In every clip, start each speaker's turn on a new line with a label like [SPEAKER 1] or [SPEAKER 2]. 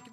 [SPEAKER 1] ikke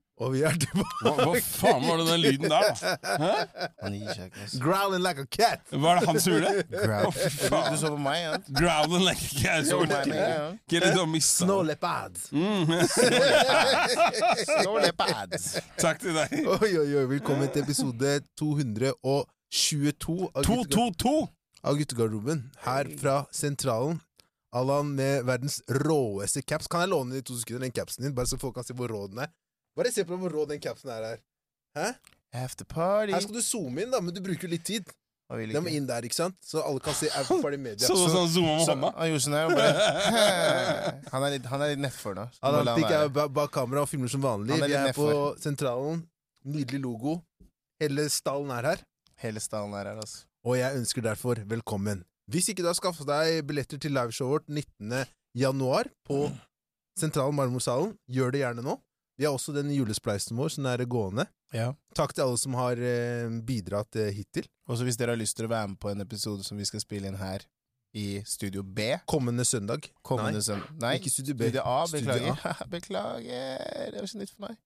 [SPEAKER 1] Og vi er tilbake.
[SPEAKER 2] Hva, hva faen var det den lyden der, da?
[SPEAKER 3] Han gir seg ikke, ass.
[SPEAKER 1] Growling like a cat.
[SPEAKER 2] Hva er det han som gjorde?
[SPEAKER 3] Growl.
[SPEAKER 2] Å, fy
[SPEAKER 3] Du, du
[SPEAKER 2] faen.
[SPEAKER 3] så på meg, ja?
[SPEAKER 2] Growlen like jeg så
[SPEAKER 3] Jo, nei,
[SPEAKER 2] ikke.
[SPEAKER 3] nei, ja.
[SPEAKER 2] Ikke liksom missa.
[SPEAKER 1] Snow leopard.
[SPEAKER 3] Mm. Nå er det pads.
[SPEAKER 2] Takk til deg.
[SPEAKER 1] Oi, oi, oi. Velkommen til episode 222 av, gutte,
[SPEAKER 2] 2-2-2.
[SPEAKER 1] av Guttegarderoben. Her fra sentralen. Allan med verdens råeste caps. Kan jeg låne de to sekunder den capsen din, bare så folk kan se hvor rå den er? Bare se på hvor rå den capsen er her. Hæ?
[SPEAKER 3] After party.
[SPEAKER 1] Her skal du zoome inn, da, men du bruker litt tid.
[SPEAKER 3] Han vil
[SPEAKER 1] Den må
[SPEAKER 3] ikke.
[SPEAKER 1] inn der, ikke sant? Så alle kan se Afterparty Media.
[SPEAKER 2] Så sånn zooma med
[SPEAKER 3] Så,
[SPEAKER 2] hånda.
[SPEAKER 3] han gjorde sånn her og bare Han er litt, han er litt nedfor nå. så må
[SPEAKER 1] Allan
[SPEAKER 3] la
[SPEAKER 1] Dick er
[SPEAKER 3] være.
[SPEAKER 1] ba- bak kamera og filmer som vanlig.
[SPEAKER 3] Han er
[SPEAKER 1] Vi er
[SPEAKER 3] litt
[SPEAKER 1] på
[SPEAKER 3] nedfor.
[SPEAKER 1] sentralen. Nydelig logo. Hele stallen er her.
[SPEAKER 3] Hele stallen er her, altså.
[SPEAKER 1] og jeg ønsker derfor velkommen. Hvis ikke du har skaffet deg billetter til liveshowet vårt 19. januar på Sentralen Marmorsalen, gjør det gjerne nå. Vi har også den julespleisen vår som er gående.
[SPEAKER 3] Ja.
[SPEAKER 1] Takk til alle som har eh, bidratt eh, hittil.
[SPEAKER 3] Og så hvis dere har lyst til å være med på en episode som vi skal spille inn her i Studio B
[SPEAKER 1] Kommende søndag.
[SPEAKER 3] kommende
[SPEAKER 1] Nei,
[SPEAKER 3] søndag Nei,
[SPEAKER 1] ikke Studio B.
[SPEAKER 3] Studio A.
[SPEAKER 1] Studio
[SPEAKER 3] Beklager. beklager, det var ikke nytt for meg.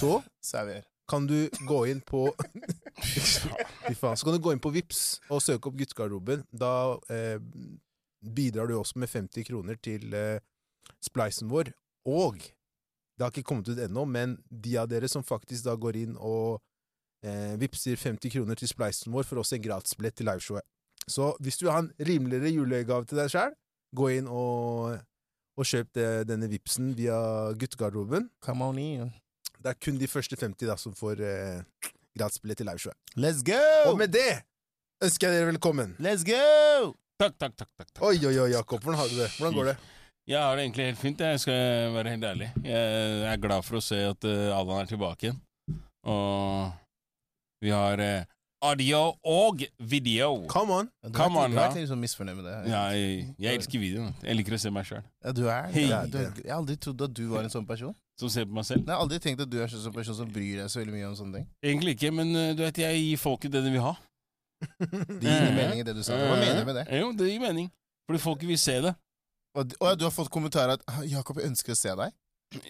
[SPEAKER 1] Så
[SPEAKER 3] Så er vi her.
[SPEAKER 1] kan du gå inn på Fy faen. Så kan du gå inn på Vips og søke opp Guttegarderoben. Da eh, bidrar du også med 50 kroner til eh, spleisen vår. Og det har ikke kommet ut ennå, men de av dere som faktisk da går inn og eh, vipser 50 kroner til spleisen vår, får også en gratisbillett til liveshowet. Så hvis du vil ha en rimeligere julegave til deg sjøl, gå inn og, og kjøp det, denne vipsen via Guttegarderoben.
[SPEAKER 3] Come on in.
[SPEAKER 1] Det er kun de første 50 da som får eh, gratisbillett til liveshowet.
[SPEAKER 3] Let's
[SPEAKER 1] Og
[SPEAKER 3] go!
[SPEAKER 1] med det ønsker jeg dere velkommen.
[SPEAKER 3] Let's go!
[SPEAKER 2] Takk, takk, takk. takk, takk.
[SPEAKER 1] Oi, oi, oi, Jakob, hvordan har du det? Hvordan går det?
[SPEAKER 2] Jeg har det egentlig helt fint, jeg skal være helt ærlig. Jeg er glad for å se at eh, Allan er tilbake igjen. Og vi har eh, audio og video.
[SPEAKER 1] Come on!
[SPEAKER 3] Ja,
[SPEAKER 2] Come
[SPEAKER 3] vært-
[SPEAKER 2] on,
[SPEAKER 3] du
[SPEAKER 2] da.
[SPEAKER 3] har vært litt sånn misfornøyd med det. her.
[SPEAKER 2] Ja, jeg, jeg elsker videoen. Jeg liker å se meg sjøl.
[SPEAKER 3] Ja, du er,
[SPEAKER 2] Hei.
[SPEAKER 3] ja, du er, jeg har aldri trodd at du var en sånn person.
[SPEAKER 2] Som ser på meg selv.
[SPEAKER 3] Jeg har aldri tenkt at du er en sånn person som bryr deg så veldig mye om sånne ting.
[SPEAKER 2] Egentlig ikke, men eh, du vet, jeg gir folket det de vil ha. Mm.
[SPEAKER 3] Det gir ingen mening i det du sa. Hva mener du med det?
[SPEAKER 2] Eh, Jo, det gir mening. Fordi folket vil se det.
[SPEAKER 3] Og, og ja, du har fått kommentarer at «Ah, 'Jakob, jeg ønsker å se deg'.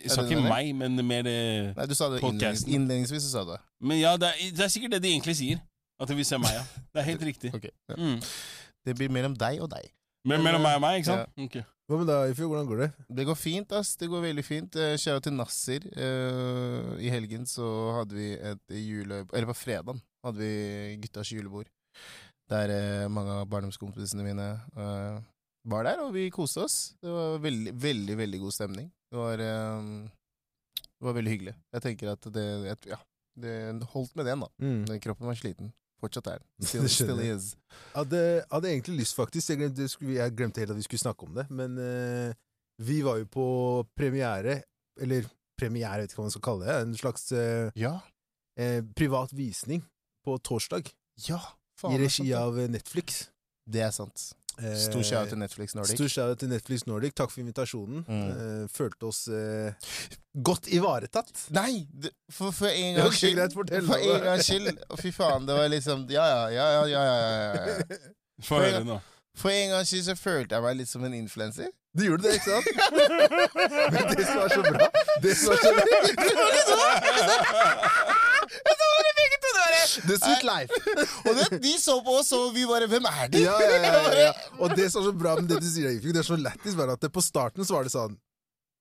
[SPEAKER 2] Jeg sa
[SPEAKER 3] det
[SPEAKER 2] ikke
[SPEAKER 3] det?
[SPEAKER 2] meg, men mer eh,
[SPEAKER 3] Nei, du sa det innlednings,
[SPEAKER 2] Podcasten.
[SPEAKER 3] innledningsvis. Så sa du det.
[SPEAKER 2] Men ja, det er, det er sikkert det de egentlig sier. At de vil se meg, ja. Det er helt riktig.
[SPEAKER 3] Ok, ja.
[SPEAKER 2] Mm.
[SPEAKER 3] Det blir mellom deg og deg.
[SPEAKER 2] Men mellom meg og meg, ikke sant? Ok.
[SPEAKER 1] Hva med deg, Ifjord? Hvordan går det?
[SPEAKER 3] Det går fint, ass. Det går veldig fint. Eh, Kjære til Nasser. Eh, I helgen så hadde vi et jule... Eller på fredagen hadde vi guttas julebord. Der eh, mange av barndomskompisene mine eh, var der, og vi koste oss. Det var veldig, veldig, veldig god stemning. Det var, eh, det var veldig hyggelig. Jeg tenker at det jeg- Ja, det holdt med den, da.
[SPEAKER 1] Mm.
[SPEAKER 3] Den kroppen var sliten. Fortsatt er den. Still,
[SPEAKER 1] Det skjønner
[SPEAKER 3] still
[SPEAKER 1] jeg.
[SPEAKER 3] is.
[SPEAKER 1] Hadde, hadde egentlig lyst, faktisk. Jeg glemte, det skulle- jeg glemte helt at vi skulle snakke om det. Men eh, vi var jo på premiere, eller premiere, jeg vet ikke hva man skal kalle det. En slags eh,
[SPEAKER 3] Ja.
[SPEAKER 1] eh, privat visning på torsdag
[SPEAKER 3] Ja. faen,
[SPEAKER 1] i
[SPEAKER 3] det er sant,
[SPEAKER 1] regi
[SPEAKER 3] det.
[SPEAKER 1] av eh, Netflix. Eh,
[SPEAKER 3] Det er sant. Stor shout til Netflix Nordic.
[SPEAKER 1] Stor shout til Netflix Nordic. Takk for invitasjonen.
[SPEAKER 3] Mm.
[SPEAKER 1] Eh, følte oss eh, godt ivaretatt.
[SPEAKER 3] Nei! det- For, for
[SPEAKER 1] Det var
[SPEAKER 3] en gangs
[SPEAKER 1] ikke
[SPEAKER 3] skyld.
[SPEAKER 1] greit, fortell
[SPEAKER 3] For
[SPEAKER 1] meg det.
[SPEAKER 3] en gangs skyld. Å, Fy faen, det var liksom Ja, ja, ja, ja, ja, ja, ja, ja.
[SPEAKER 2] Få høre nå.
[SPEAKER 3] For en gangs skyld så følte jeg meg litt som en influenser.
[SPEAKER 1] Du gjorde det, ikke sant? Men det som var så bra Det som var så bra The Sweet Life.
[SPEAKER 3] Og det, de så på oss, og vi bare Hvem er de?
[SPEAKER 1] Ja, ja, ja, ja, ja. Og det som var så bra med det du sier, Ifjok, det er så lættis, bare at det, på starten så var det sånn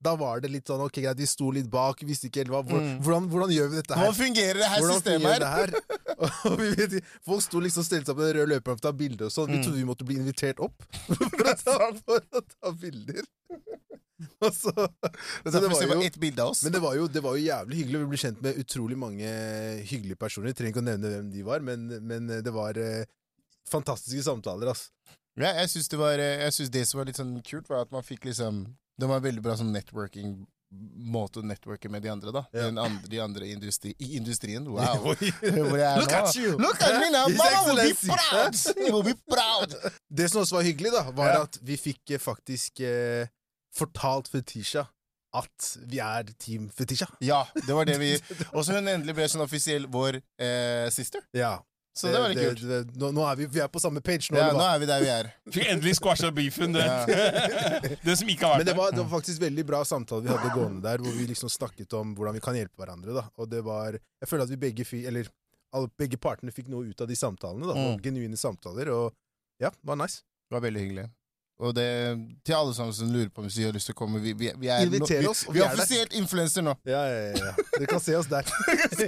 [SPEAKER 1] Da var det litt sånn ok, greit, vi sto litt bak, visste ikke helt hva hvor,
[SPEAKER 3] Mm.
[SPEAKER 1] hvordan, hvordan gjør vi dette her?
[SPEAKER 3] Hvordan fungerer det her
[SPEAKER 1] Hvordan fungerer
[SPEAKER 3] systemet
[SPEAKER 1] det
[SPEAKER 3] her?
[SPEAKER 1] her? Og vi vet, ikke- folk sto liksom stilt opp med den røde løperen for å ta bilder og sånn. Vi trodde vi måtte bli invitert opp for å ta, for å ta bilder. Og så, så
[SPEAKER 3] Så det var jo ett bilde av oss.
[SPEAKER 1] Men det var, jo, det var jo jævlig hyggelig. Vi ble kjent med utrolig mange hyggelige personer. Jeg trenger ikke å nevne hvem de var, men, men det var eh, fantastiske samtaler, ass.
[SPEAKER 3] Ja, jeg syns det, var, eh, jeg synes det som var litt sånn kult, var at man fikk liksom Det var en veldig bra sånn networking måte å networke med de andre, da.
[SPEAKER 1] Ja.
[SPEAKER 3] Den andre, de andre industri, i industrien. Wow! Hvor jeg er
[SPEAKER 1] Look
[SPEAKER 3] nå.
[SPEAKER 1] at you!
[SPEAKER 3] Look at me now!
[SPEAKER 1] His
[SPEAKER 3] Mama will be
[SPEAKER 1] Excellency.
[SPEAKER 3] proud! He will be proud!
[SPEAKER 1] Det som også var hyggelig, da, var
[SPEAKER 3] Ja.
[SPEAKER 1] at vi fikk eh, faktisk eh, fortalt Fetisha at vi er Team Fetisha.
[SPEAKER 3] Ja, det var det vi Og så hun endelig ble sånn offisiell vår eh, sister.
[SPEAKER 1] Ja,
[SPEAKER 3] Så det var litt kult.
[SPEAKER 1] det- nå, nå er vi, vi er på samme page nå.
[SPEAKER 3] Ja,
[SPEAKER 1] eller
[SPEAKER 3] nå
[SPEAKER 1] hva?
[SPEAKER 3] er vi der vi er.
[SPEAKER 2] Fikk endelig squasha beefen, den. den som ikke
[SPEAKER 1] Men
[SPEAKER 2] har vært
[SPEAKER 1] det
[SPEAKER 2] der.
[SPEAKER 1] var, det var faktisk veldig bra samtale vi hadde gående der, hvor vi liksom snakket om hvordan vi kan hjelpe hverandre. da. Og det var Jeg føler at vi begge fi- Eller alle, begge partene fikk noe ut av de samtalene. da. Det var
[SPEAKER 3] Mm.
[SPEAKER 1] Genuine samtaler. Og ja, det var nice.
[SPEAKER 3] Det var veldig hyggelig. Og det, til alle sammen som lurer på om vi har lyst til å komme Vi, vi, vi er,
[SPEAKER 1] Inviter
[SPEAKER 3] vi,
[SPEAKER 1] oss, og
[SPEAKER 3] vi
[SPEAKER 1] vi
[SPEAKER 3] er
[SPEAKER 1] er der.
[SPEAKER 3] offisielt influenser nå.
[SPEAKER 1] Ja, ja, ja, ja. Dere kan se oss der.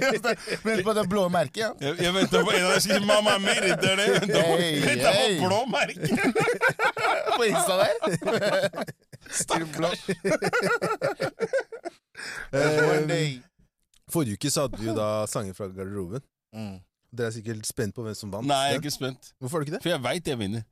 [SPEAKER 3] Vent på det blå merket, ja.
[SPEAKER 2] Jeg, jeg venta på en av dem skulle si 'Mamma Mary'. Det er det. Jeg ventet på-
[SPEAKER 3] Hey,
[SPEAKER 2] ventet på
[SPEAKER 3] hey.
[SPEAKER 2] blå merke.
[SPEAKER 3] På Insta der.
[SPEAKER 2] Stakkars.
[SPEAKER 1] Eh, Forrige uke så hadde vi jo da sanger fra garderoben.
[SPEAKER 3] Mm.
[SPEAKER 1] Dere er sikkert spent på hvem som vant.
[SPEAKER 2] Nei, jeg er
[SPEAKER 1] den.
[SPEAKER 2] ikke spent.
[SPEAKER 1] Hvorfor er det ikke det?
[SPEAKER 2] For jeg veit jeg vinner.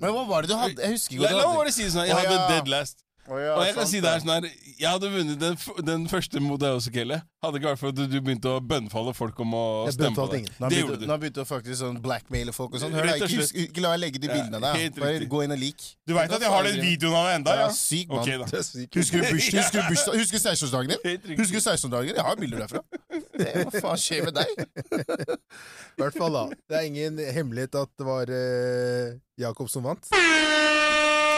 [SPEAKER 3] Men hva var det du hadde? Jeg husker
[SPEAKER 2] La la
[SPEAKER 3] ikke
[SPEAKER 2] meg
[SPEAKER 3] hva du hadde.
[SPEAKER 2] bare si det sånn. Jeg
[SPEAKER 3] Å,
[SPEAKER 2] hadde
[SPEAKER 3] ja.
[SPEAKER 2] dead last.
[SPEAKER 3] Å, ja,
[SPEAKER 2] Og jeg kan
[SPEAKER 3] sant
[SPEAKER 2] si det her sånn her Jeg hadde vunnet den, f- den første mot deg også, Kelle. Hadde ikke vært for at du begynte å bønnfalle folk om å
[SPEAKER 1] Jeg
[SPEAKER 2] stemme på
[SPEAKER 1] bønnfalt
[SPEAKER 2] deg.
[SPEAKER 1] ingen.
[SPEAKER 3] Nå
[SPEAKER 2] Det
[SPEAKER 3] begynte-
[SPEAKER 2] gjorde du.
[SPEAKER 3] Nå begynte du faktisk sånn blackmaile folk og sånn. Hør da,
[SPEAKER 2] Rett og
[SPEAKER 3] ikke,
[SPEAKER 2] slett.
[SPEAKER 3] husk- ikke la meg legge de
[SPEAKER 2] Ja,
[SPEAKER 3] bildene der.
[SPEAKER 2] helt
[SPEAKER 3] Bare
[SPEAKER 2] riktig.
[SPEAKER 3] gå inn og lik.
[SPEAKER 2] Du veit at jeg har den videoen av deg enda,
[SPEAKER 3] Ja,
[SPEAKER 2] ja?
[SPEAKER 3] syk mann.
[SPEAKER 2] Ok, da.
[SPEAKER 1] Det er sykt.
[SPEAKER 3] Husker du burs- husker du bursdag- husker du 16-årsdagen din?
[SPEAKER 2] Helt riktig.
[SPEAKER 3] Husker du 16-årsdagen? Jeg har bilder derfra. Det, hva faen skjer med deg?
[SPEAKER 1] I hvert fall, da. Det er ingen hemmelighet at det var eh, Jakob som vant.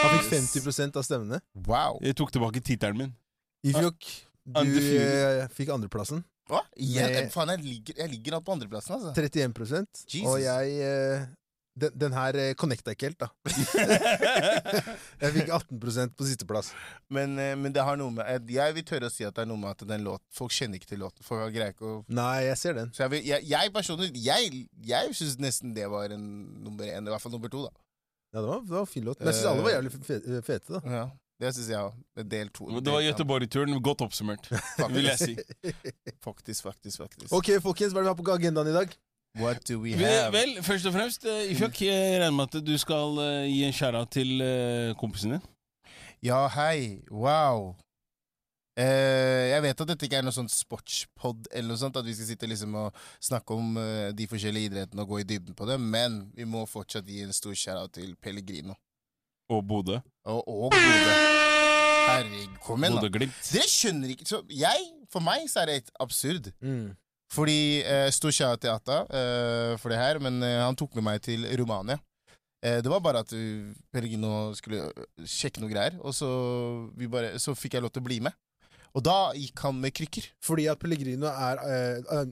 [SPEAKER 1] Han fikk 50 av stemmene.
[SPEAKER 3] Wow.
[SPEAKER 2] Jeg tok tilbake tittelen min.
[SPEAKER 1] Ifjok,
[SPEAKER 3] Ah,
[SPEAKER 1] du
[SPEAKER 2] Undefeated.
[SPEAKER 1] eh, fikk andreplassen.
[SPEAKER 3] Hva? Igjen?
[SPEAKER 1] Med-
[SPEAKER 3] Faen, jeg ligger, jeg ligger alt på andreplassen, altså.
[SPEAKER 1] 31 Og
[SPEAKER 3] Jesus.
[SPEAKER 1] jeg eh, den, den her eh, connecta ikke helt, da. Jeg fikk 18 på sisteplass.
[SPEAKER 3] Men, eh, men det har noe med jeg- Jeg vil tørre å si at det er noe med at den låten Folk kjenner ikke til låten. Folk greier ikke å
[SPEAKER 1] Nei, jeg ser den.
[SPEAKER 3] Så jeg, vil, jeg, jeg personlig Jeg, jeg syns nesten det var en nummer én. I hvert fall nummer to, da.
[SPEAKER 1] Ja, det var, det var fin låt. Men jeg syns alle
[SPEAKER 3] Eh.
[SPEAKER 1] var jævlig fe eh, fete, da.
[SPEAKER 3] Ja, det syns jeg òg. Del to.
[SPEAKER 2] Det var Göteborg-turen. Godt oppsummert, vil jeg si.
[SPEAKER 3] Faktisk, faktisk, faktisk.
[SPEAKER 1] Ok, folkens, hva er det vi har på agendaen i dag?
[SPEAKER 3] What do we
[SPEAKER 2] Vel,
[SPEAKER 3] have?
[SPEAKER 2] vel, først og fremst, eh, Ifjok, jeg regner med at du skal eh, gi en skjæra til eh, kompisen din.
[SPEAKER 3] Ja, hei. Wow. Eh, jeg vet at dette ikke er noe sånn sportspod, eller noe sånt, at vi skal sitte liksom og snakke om eh, de forskjellige idrettene og gå i dybden på det, men vi må fortsatt gi en stor shout-out til Pellegrino.
[SPEAKER 2] Og Bodø.
[SPEAKER 3] Og, og Bodø. Herregud, kom igjen, da.
[SPEAKER 2] Bodø-Glimt.
[SPEAKER 3] Dere skjønner ikke så jeg, For meg så er det helt absurd. Fordi eh, Stor shout-out til Atta eh, for det her, men eh, han tok med meg til Romania. Eh, det var bare at uh, Pellegrino skulle ø, sjekke noe greier, og så, vi bare, så fikk jeg lov til å bli med. Og da gikk han med krykker.
[SPEAKER 1] Fordi at Pellegrino er eh, eh,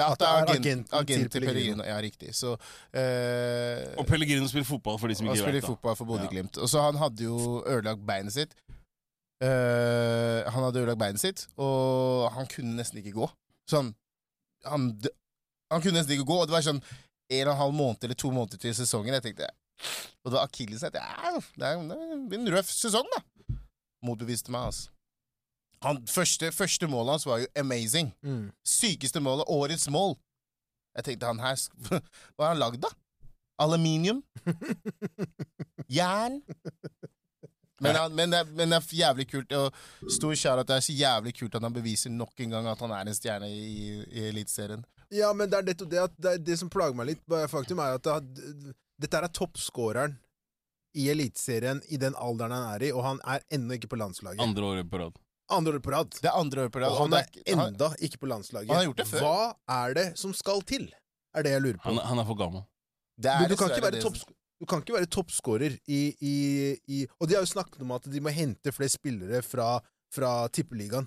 [SPEAKER 3] Ja,
[SPEAKER 1] Atta
[SPEAKER 3] Atta er
[SPEAKER 1] er
[SPEAKER 3] agent,
[SPEAKER 1] agenten
[SPEAKER 3] agent,
[SPEAKER 1] til
[SPEAKER 3] til
[SPEAKER 1] Pellegrino.
[SPEAKER 3] Pellegrino. Ja, riktig. Så eh,
[SPEAKER 2] Og Pellegrino spiller fotball, for de som
[SPEAKER 3] Han
[SPEAKER 2] ikke
[SPEAKER 3] spiller
[SPEAKER 2] vet det.
[SPEAKER 3] fotball for
[SPEAKER 2] Ja.
[SPEAKER 3] Bodø-Glimt. Og så han hadde jo ødelagt beinet sitt. Eh, han hadde ødelagt beinet sitt, og han kunne nesten ikke gå. Så han, han, d- han kunne nesten ikke gå, og det var sånn en og en halv måned eller to måneder til sesongen. Jeg tenkte, Og det var akilles. Jeg tenkte, "Au, Det, er- det blir en røff sesong, da. Motbeviste meg, altså. Han, første, første målet hans var jo amazing.
[SPEAKER 1] mm.
[SPEAKER 3] Sykeste målet. Årets mål. Jeg tenkte, han her sk- Hva har han lagd, da? Aluminium? Jern. Men, han, men, det, er- men det er jævlig kult. Og stor kjære at det er så jævlig kult at han beviser nok en gang at han er en stjerne i, i Eliteserien.
[SPEAKER 1] Ja, men det er nettopp det at det, er det som plager meg litt, bare faktum er at det, har- dette er toppskåreren i Eliteserien i den alderen han er i, og han er ennå ikke på landslaget.
[SPEAKER 2] Andre året på rad.
[SPEAKER 1] Andre året på rad.
[SPEAKER 3] Det er andre år på rad.
[SPEAKER 1] Og han
[SPEAKER 3] det
[SPEAKER 1] er
[SPEAKER 3] er ikke- han-
[SPEAKER 1] enda ikke på landslaget.
[SPEAKER 3] Han har gjort det før.
[SPEAKER 1] Hva er det som skal til? Er det jeg lurer på.
[SPEAKER 2] Han, han er for gammel.
[SPEAKER 3] det er
[SPEAKER 1] Men du kan
[SPEAKER 3] dessverre
[SPEAKER 1] ikke være
[SPEAKER 3] det som-
[SPEAKER 1] toppsk- Du kan ikke være toppskårer i, i, i Og de har jo snakket om at de må hente flere spillere fra, fra tippeligaen.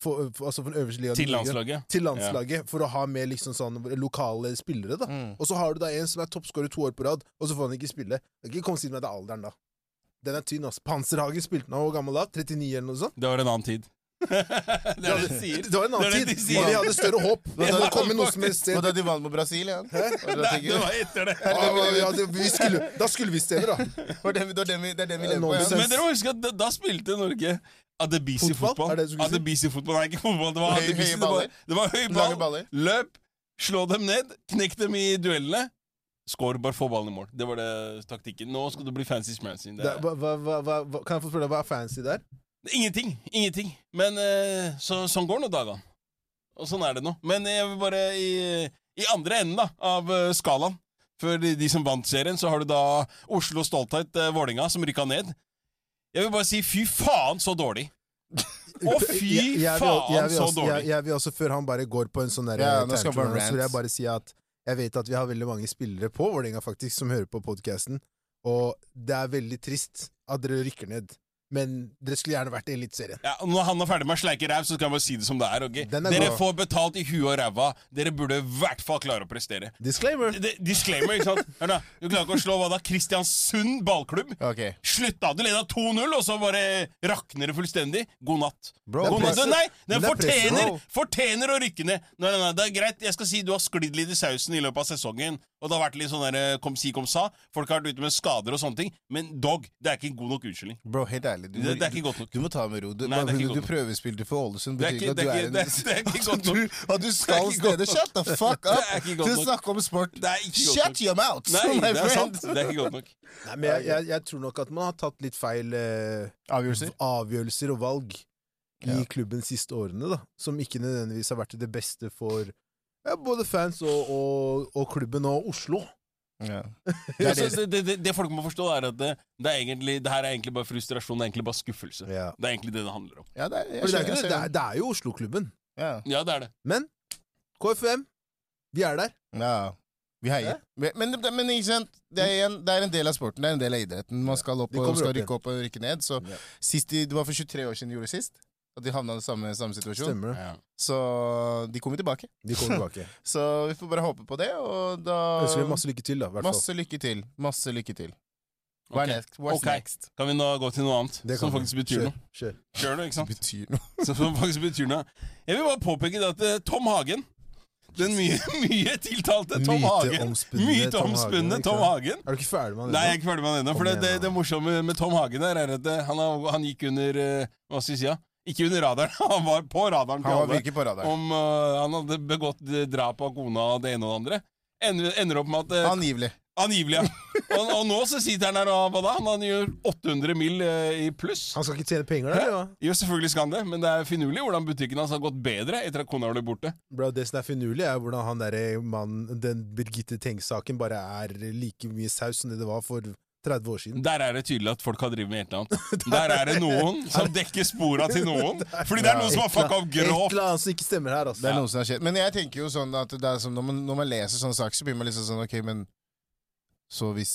[SPEAKER 1] For, for, altså for den øverste ligaen. i
[SPEAKER 2] Til
[SPEAKER 1] Norge.
[SPEAKER 2] landslaget.
[SPEAKER 1] Til landslaget, for å ha med liksom sånn lokale spillere, da.
[SPEAKER 3] Mm.
[SPEAKER 1] Og så har du da en som er toppskårer to år på rad, og så får han ikke spille. Det kan ikke komme og si meg det er alderen, da. Den er tynn, ass. Panserhagen spilte nå, hvor gammel da? 39 eller noe sånt?
[SPEAKER 2] Det var en annen tid. det er det de sier.
[SPEAKER 1] Det var en
[SPEAKER 2] Det er
[SPEAKER 1] annen
[SPEAKER 2] det de
[SPEAKER 1] tid,
[SPEAKER 2] sier.
[SPEAKER 1] og de hadde større håp.
[SPEAKER 3] da-
[SPEAKER 1] Det hadde kommet noe som helst
[SPEAKER 3] Og
[SPEAKER 1] sted.
[SPEAKER 3] da de vant mot Brasil igjen. Og da
[SPEAKER 2] Nei,
[SPEAKER 3] tenker
[SPEAKER 2] det
[SPEAKER 3] jeg-
[SPEAKER 2] var etter det.
[SPEAKER 1] Ja, ja, det- vi skulle, da skulle vi steder, da.
[SPEAKER 3] Det var den vi- det var den vi- det er den vi lever på.
[SPEAKER 1] Nå
[SPEAKER 3] Ja.
[SPEAKER 1] bestemmer-
[SPEAKER 2] Men dere må huske at da, da spilte Norge Adebisi
[SPEAKER 1] Fotball?
[SPEAKER 2] fotball.
[SPEAKER 1] Er det det du skulle si?
[SPEAKER 2] Adebisi fotball, Nei, ikke fotball. Det var
[SPEAKER 3] Høy-
[SPEAKER 2] Adebisi.
[SPEAKER 3] høye
[SPEAKER 2] Det
[SPEAKER 3] baller.
[SPEAKER 2] var, det var høy
[SPEAKER 3] Lange
[SPEAKER 2] ball.
[SPEAKER 3] baller.
[SPEAKER 2] Løp, slå dem ned, knekk dem i duellene. Skår, bare få ballen i mål. Det var det taktikken. Nå skal du bli fancy schmancy. Det
[SPEAKER 1] Det,
[SPEAKER 2] er-
[SPEAKER 1] hva, hva, hva, hva, kan jeg få spørre deg, hva er fancy der?
[SPEAKER 2] Ingenting. Ingenting. Men eh, så, sånn går nå dagene. Og sånn er det nå. Men jeg vil bare i, i andre enden da, av eh, skalaen, for de, de som vant serien, så har du da Oslo Stolthet, eh, Vålinga, som rykka ned. Jeg vil bare si fy faen så dårlig. Å, fy
[SPEAKER 1] Jeg- jeg vil-
[SPEAKER 2] faen,
[SPEAKER 1] jeg vil
[SPEAKER 2] så
[SPEAKER 1] også-
[SPEAKER 2] dårlig.
[SPEAKER 1] Jeg, jeg vil også, før han bare går på en sånn der,
[SPEAKER 3] Ja,
[SPEAKER 1] eh,
[SPEAKER 3] nå skal han
[SPEAKER 1] tantrum,
[SPEAKER 3] bare
[SPEAKER 1] så vil jeg
[SPEAKER 3] rant.
[SPEAKER 1] bare si at jeg vet at vi har veldig mange spillere på Vålerenga faktisk som hører på podkasten, og det er veldig trist at dere rykker ned. Men dere skulle gjerne vært i Eliteserien.
[SPEAKER 2] Ja, og når han er ferdig med å sleike ræv, så skal han bare si det som det er. ok?
[SPEAKER 1] Den er
[SPEAKER 2] Dere
[SPEAKER 1] god.
[SPEAKER 2] får betalt i huet og ræva. Dere burde i hvert fall klare å prestere.
[SPEAKER 1] Disclaimer!
[SPEAKER 2] D- Disclaimer, ikke sant? Hør da, Du klarer ikke å slå hva da? Kristiansund ballklubb?
[SPEAKER 3] Ok.
[SPEAKER 2] Slutt da, Du leda 2-0, og så bare rakner det fullstendig. God natt.
[SPEAKER 3] Bro,
[SPEAKER 2] God natt.
[SPEAKER 1] presset.
[SPEAKER 2] Nei,
[SPEAKER 1] Men
[SPEAKER 2] den
[SPEAKER 1] det er presset,
[SPEAKER 2] fortjener,
[SPEAKER 1] bro.
[SPEAKER 2] fortjener å rykke ned. Nei, nei, nei, Det er greit, jeg skal si du har sklidd litt i sausen i løpet av sesongen. Og det har vært litt sånn der, eh, kom si, kom sa. Folk har vært ute med skader og sånne ting. Men dog, det er ikke en god nok unnskyldning.
[SPEAKER 3] Bro, helt ærlig. Du,
[SPEAKER 2] Det, det er ikke godt nok.
[SPEAKER 3] du må ta med ro. Du,
[SPEAKER 2] Nei, det er
[SPEAKER 3] bare fordi
[SPEAKER 2] ikke godt
[SPEAKER 3] du
[SPEAKER 2] nok.
[SPEAKER 3] prøvespilte for Ålesund.
[SPEAKER 2] Det er
[SPEAKER 3] Betyr
[SPEAKER 2] ikke,
[SPEAKER 3] ikke at
[SPEAKER 2] det
[SPEAKER 3] du
[SPEAKER 2] er
[SPEAKER 3] er
[SPEAKER 2] ikke,
[SPEAKER 3] en
[SPEAKER 2] det er, det er ikke godt nok.
[SPEAKER 3] du, at du skal
[SPEAKER 2] ikke godt
[SPEAKER 3] stedet.
[SPEAKER 2] nok.
[SPEAKER 3] Shut the fuck
[SPEAKER 2] Det
[SPEAKER 3] up!
[SPEAKER 2] er ikke
[SPEAKER 3] Til
[SPEAKER 2] godt
[SPEAKER 3] å
[SPEAKER 2] nok.
[SPEAKER 3] snakke om sport.
[SPEAKER 2] Det er ikke godt nok.
[SPEAKER 3] Shut your mouth,
[SPEAKER 2] Nei,
[SPEAKER 3] my
[SPEAKER 2] det er
[SPEAKER 3] friend!
[SPEAKER 2] sant. Det er ikke godt nok.
[SPEAKER 1] Nei, men jeg, jeg, jeg tror nok at man har tatt litt feil eh,
[SPEAKER 3] Avgjørelser.
[SPEAKER 1] avgjørelser og valg i
[SPEAKER 3] Ja.
[SPEAKER 1] klubben de siste årene, da, som ikke nødvendigvis har vært til det beste for ja, både fans og, og, og klubben og Oslo.
[SPEAKER 3] Ja.
[SPEAKER 2] Det,
[SPEAKER 3] Det er
[SPEAKER 2] altså, det,
[SPEAKER 3] det-
[SPEAKER 2] det, det, det folk må forstå, er at det, det, er egentlig, det her er egentlig bare frustrasjon. Det er egentlig bare skuffelse.
[SPEAKER 1] Ja.
[SPEAKER 2] Det er egentlig det det handler om.
[SPEAKER 3] Ja, det er, jeg
[SPEAKER 1] For det, er
[SPEAKER 3] skjønner-
[SPEAKER 1] ikke, det, det, er, det er jo Oslo-klubben.
[SPEAKER 3] Ja.
[SPEAKER 2] Ja, det er det.
[SPEAKER 1] Men KFUM, vi er der.
[SPEAKER 3] Ja. Vi heier. Men, men, men ikke sant? Det, er en, det er en del av sporten, det er en del av idretten. Man skal opp
[SPEAKER 1] De
[SPEAKER 3] og
[SPEAKER 1] kommer
[SPEAKER 3] skal
[SPEAKER 1] opp igjen.
[SPEAKER 3] rykke opp og rykke ned. Så
[SPEAKER 1] Ja.
[SPEAKER 3] sist de, Det var for 23 år siden de gjorde det sist. At de havna i samme, samme situasjon.
[SPEAKER 1] Stemmer det.
[SPEAKER 2] Ja.
[SPEAKER 3] Så de kommer tilbake.
[SPEAKER 1] De kommer tilbake.
[SPEAKER 3] Så vi får bare håpe på det, og da
[SPEAKER 1] Ønsker dem masse lykke til, da. i Hvert fall.
[SPEAKER 3] Masse lykke til. Masse lykke til.
[SPEAKER 2] Ok.
[SPEAKER 3] Hva er next? What's
[SPEAKER 2] Ok.
[SPEAKER 3] next?
[SPEAKER 2] Kan vi nå gå til noe annet
[SPEAKER 1] Det kan
[SPEAKER 2] som
[SPEAKER 1] vi.
[SPEAKER 2] faktisk betyr
[SPEAKER 1] Kjør,
[SPEAKER 2] noe?
[SPEAKER 1] Kjør.
[SPEAKER 2] Kjør noe, ikke sant?
[SPEAKER 3] Betyr noe.
[SPEAKER 2] Som faktisk betyr noe. Jeg vil bare påpeke det at eh, Tom Hagen, den mye, mye tiltalte Tom Hagen
[SPEAKER 1] Myteomspunne
[SPEAKER 2] Myte
[SPEAKER 1] Tom Hagen,
[SPEAKER 2] omspunne
[SPEAKER 1] ikke sant?
[SPEAKER 2] Tom Hagen.
[SPEAKER 1] Er du ikke ferdig med
[SPEAKER 2] Nei, jeg er
[SPEAKER 1] det?
[SPEAKER 2] ikke ferdig med den ennå.
[SPEAKER 1] Kom
[SPEAKER 2] For det,
[SPEAKER 1] igjen,
[SPEAKER 2] det,
[SPEAKER 1] da.
[SPEAKER 2] det morsomme med Tom Hagen der er at eh, han, har- han gikk under eh, Hva skal vi si? Ja? Ikke under radaren, han var på radaren. til
[SPEAKER 3] Han var
[SPEAKER 2] alle.
[SPEAKER 3] virkelig på radaren.
[SPEAKER 2] om eh, han hadde begått eh, drap av kona og det ene og det andre. Ender, ender opp med at eh,
[SPEAKER 3] Angivelig.
[SPEAKER 2] Angivelig, ja. og, og nå så sitter han her og hva da? Han, han gjør 800 mill. eh, i pluss.
[SPEAKER 1] Han skal ikke tjene penger der, eller hva?
[SPEAKER 2] Jo, selvfølgelig skal han det, men det er finurlig hvordan butikken hans har gått bedre etter at kona ble borte.
[SPEAKER 1] Bro, det som er finurlig, er hvordan han derre mannen, den Birgitte Tengs-saken, bare er like mye saus som det det var for 30 år siden.
[SPEAKER 2] Der er det tydelig at folk har drevet med et eller annet. Der er det noen som dekker spora til noen, fordi det er noen som har fucka opp
[SPEAKER 1] Et eller annet- Et
[SPEAKER 2] grovt.
[SPEAKER 1] eller annet som ikke stemmer her, altså.
[SPEAKER 3] Det er
[SPEAKER 2] Ja.
[SPEAKER 3] noe som har skjedd. Men jeg tenker jo sånn at det er som når man, når man leser sånne saker, så blir man liksom sånn Ok, men så hvis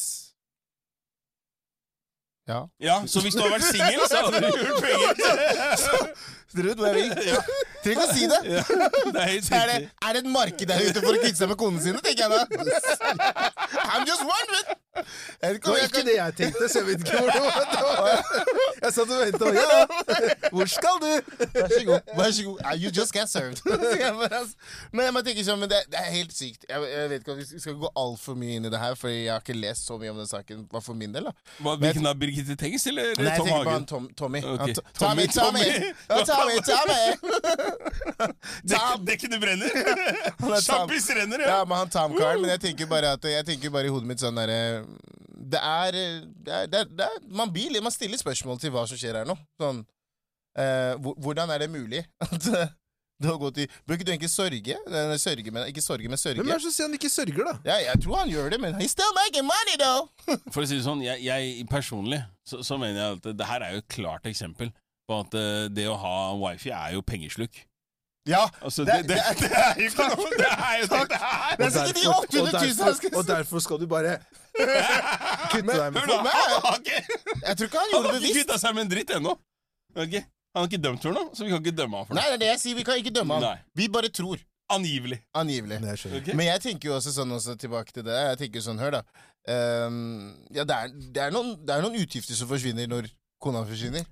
[SPEAKER 3] Ja.
[SPEAKER 2] Ja, så hvis du hadde vært singel, så hadde du gjort penger.
[SPEAKER 3] Dere vet hvor jeg vil.
[SPEAKER 2] Ja.
[SPEAKER 3] Trenger ikke å si det.
[SPEAKER 2] Ja, det er helt
[SPEAKER 3] Er det,
[SPEAKER 2] riktig.
[SPEAKER 3] er det et marked der ute for å kvitte seg med konene sine, tenker jeg da. I'm just wondering.
[SPEAKER 1] Det
[SPEAKER 3] Jeg vet ikke om
[SPEAKER 1] var
[SPEAKER 3] jeg
[SPEAKER 1] ikke
[SPEAKER 3] kan-
[SPEAKER 1] det jeg tenkte, så jeg vet ikke hvor det var. Det var. Jeg satt og venta. Ja, hvor skal du?
[SPEAKER 3] Vær så god. Vær så god. Ah, You just got served. Jeg bare, altså. Men jeg bare tenker sånn, men det, det er helt sykt. Jeg, jeg vet ikke om Vi skal gå altfor mye inn i det her, for jeg har ikke lest så mye om den saken, hva for min del. da
[SPEAKER 2] Hva, Hvilken av Birgitte Tengs eller
[SPEAKER 3] Nei, jeg
[SPEAKER 2] Tom
[SPEAKER 3] tenker på
[SPEAKER 2] Hagen?
[SPEAKER 3] han Tom, Tommy.
[SPEAKER 2] Ok.
[SPEAKER 3] Han, to-
[SPEAKER 2] Tommy,
[SPEAKER 3] Tommy, Tommy!
[SPEAKER 2] Tommy.
[SPEAKER 3] Ja, Tommy, Tommy! Tom.
[SPEAKER 2] Dekken det brenner!
[SPEAKER 3] er tam.
[SPEAKER 2] Sjampis renner, ja!
[SPEAKER 3] Ja, men han Tom-karen. Men jeg tenker bare at Jeg tenker bare i hodet mitt sånn derre Det er eh, det er, det er, det er man, blir, litt- man stiller spørsmål til hva som skjer her nå. Sånn eh, hvor- Hvordan er det mulig at eh, det har gått i Bør ikke du egentlig sørge? Nei, sørge men, ikke sorge, men sørge.
[SPEAKER 1] Hvem er det som sier han ikke sørger, da?
[SPEAKER 3] Ja, jeg tror han gjør det, men he's still making money, though!
[SPEAKER 2] For å si det sånn, jeg, jeg personlig så, så mener jeg at det her er jo et klart eksempel på at eh, det å ha wifi er jo pengesluk.
[SPEAKER 3] Ja!
[SPEAKER 2] Altså, det,
[SPEAKER 3] Det-
[SPEAKER 2] det,
[SPEAKER 3] det-
[SPEAKER 2] det er jo ikke noe Det er jo det det
[SPEAKER 3] Det
[SPEAKER 2] er!
[SPEAKER 3] er sikkert de
[SPEAKER 1] Derfor-
[SPEAKER 3] 800 000 han
[SPEAKER 1] og,
[SPEAKER 3] skal
[SPEAKER 1] derfor, og derfor skal du bare kutte deg med
[SPEAKER 2] Hør nå,
[SPEAKER 3] meg-
[SPEAKER 2] han har ikke,
[SPEAKER 3] Jeg tror ikke han
[SPEAKER 2] han
[SPEAKER 3] gjorde
[SPEAKER 2] har
[SPEAKER 3] det
[SPEAKER 2] ikke
[SPEAKER 3] bevisst.
[SPEAKER 2] kvitta seg med en dritt ennå. Ok? Han er ikke dømt for noe, så vi kan ikke dømme han for
[SPEAKER 3] Nei,
[SPEAKER 2] noe.
[SPEAKER 3] det er det jeg sier. Vi kan ikke dømme
[SPEAKER 2] Nei.
[SPEAKER 3] han. Vi bare tror.
[SPEAKER 2] Angivelig.
[SPEAKER 3] Angivelig.
[SPEAKER 1] Nei, jeg skjønner.
[SPEAKER 2] ok?
[SPEAKER 3] Men jeg tenker jo også sånn også tilbake til det. Jeg tenker jo sånn, hør da Ehm, Ja, det er, det, er noen, det er noen utgifter som forsvinner når kona forsvinner.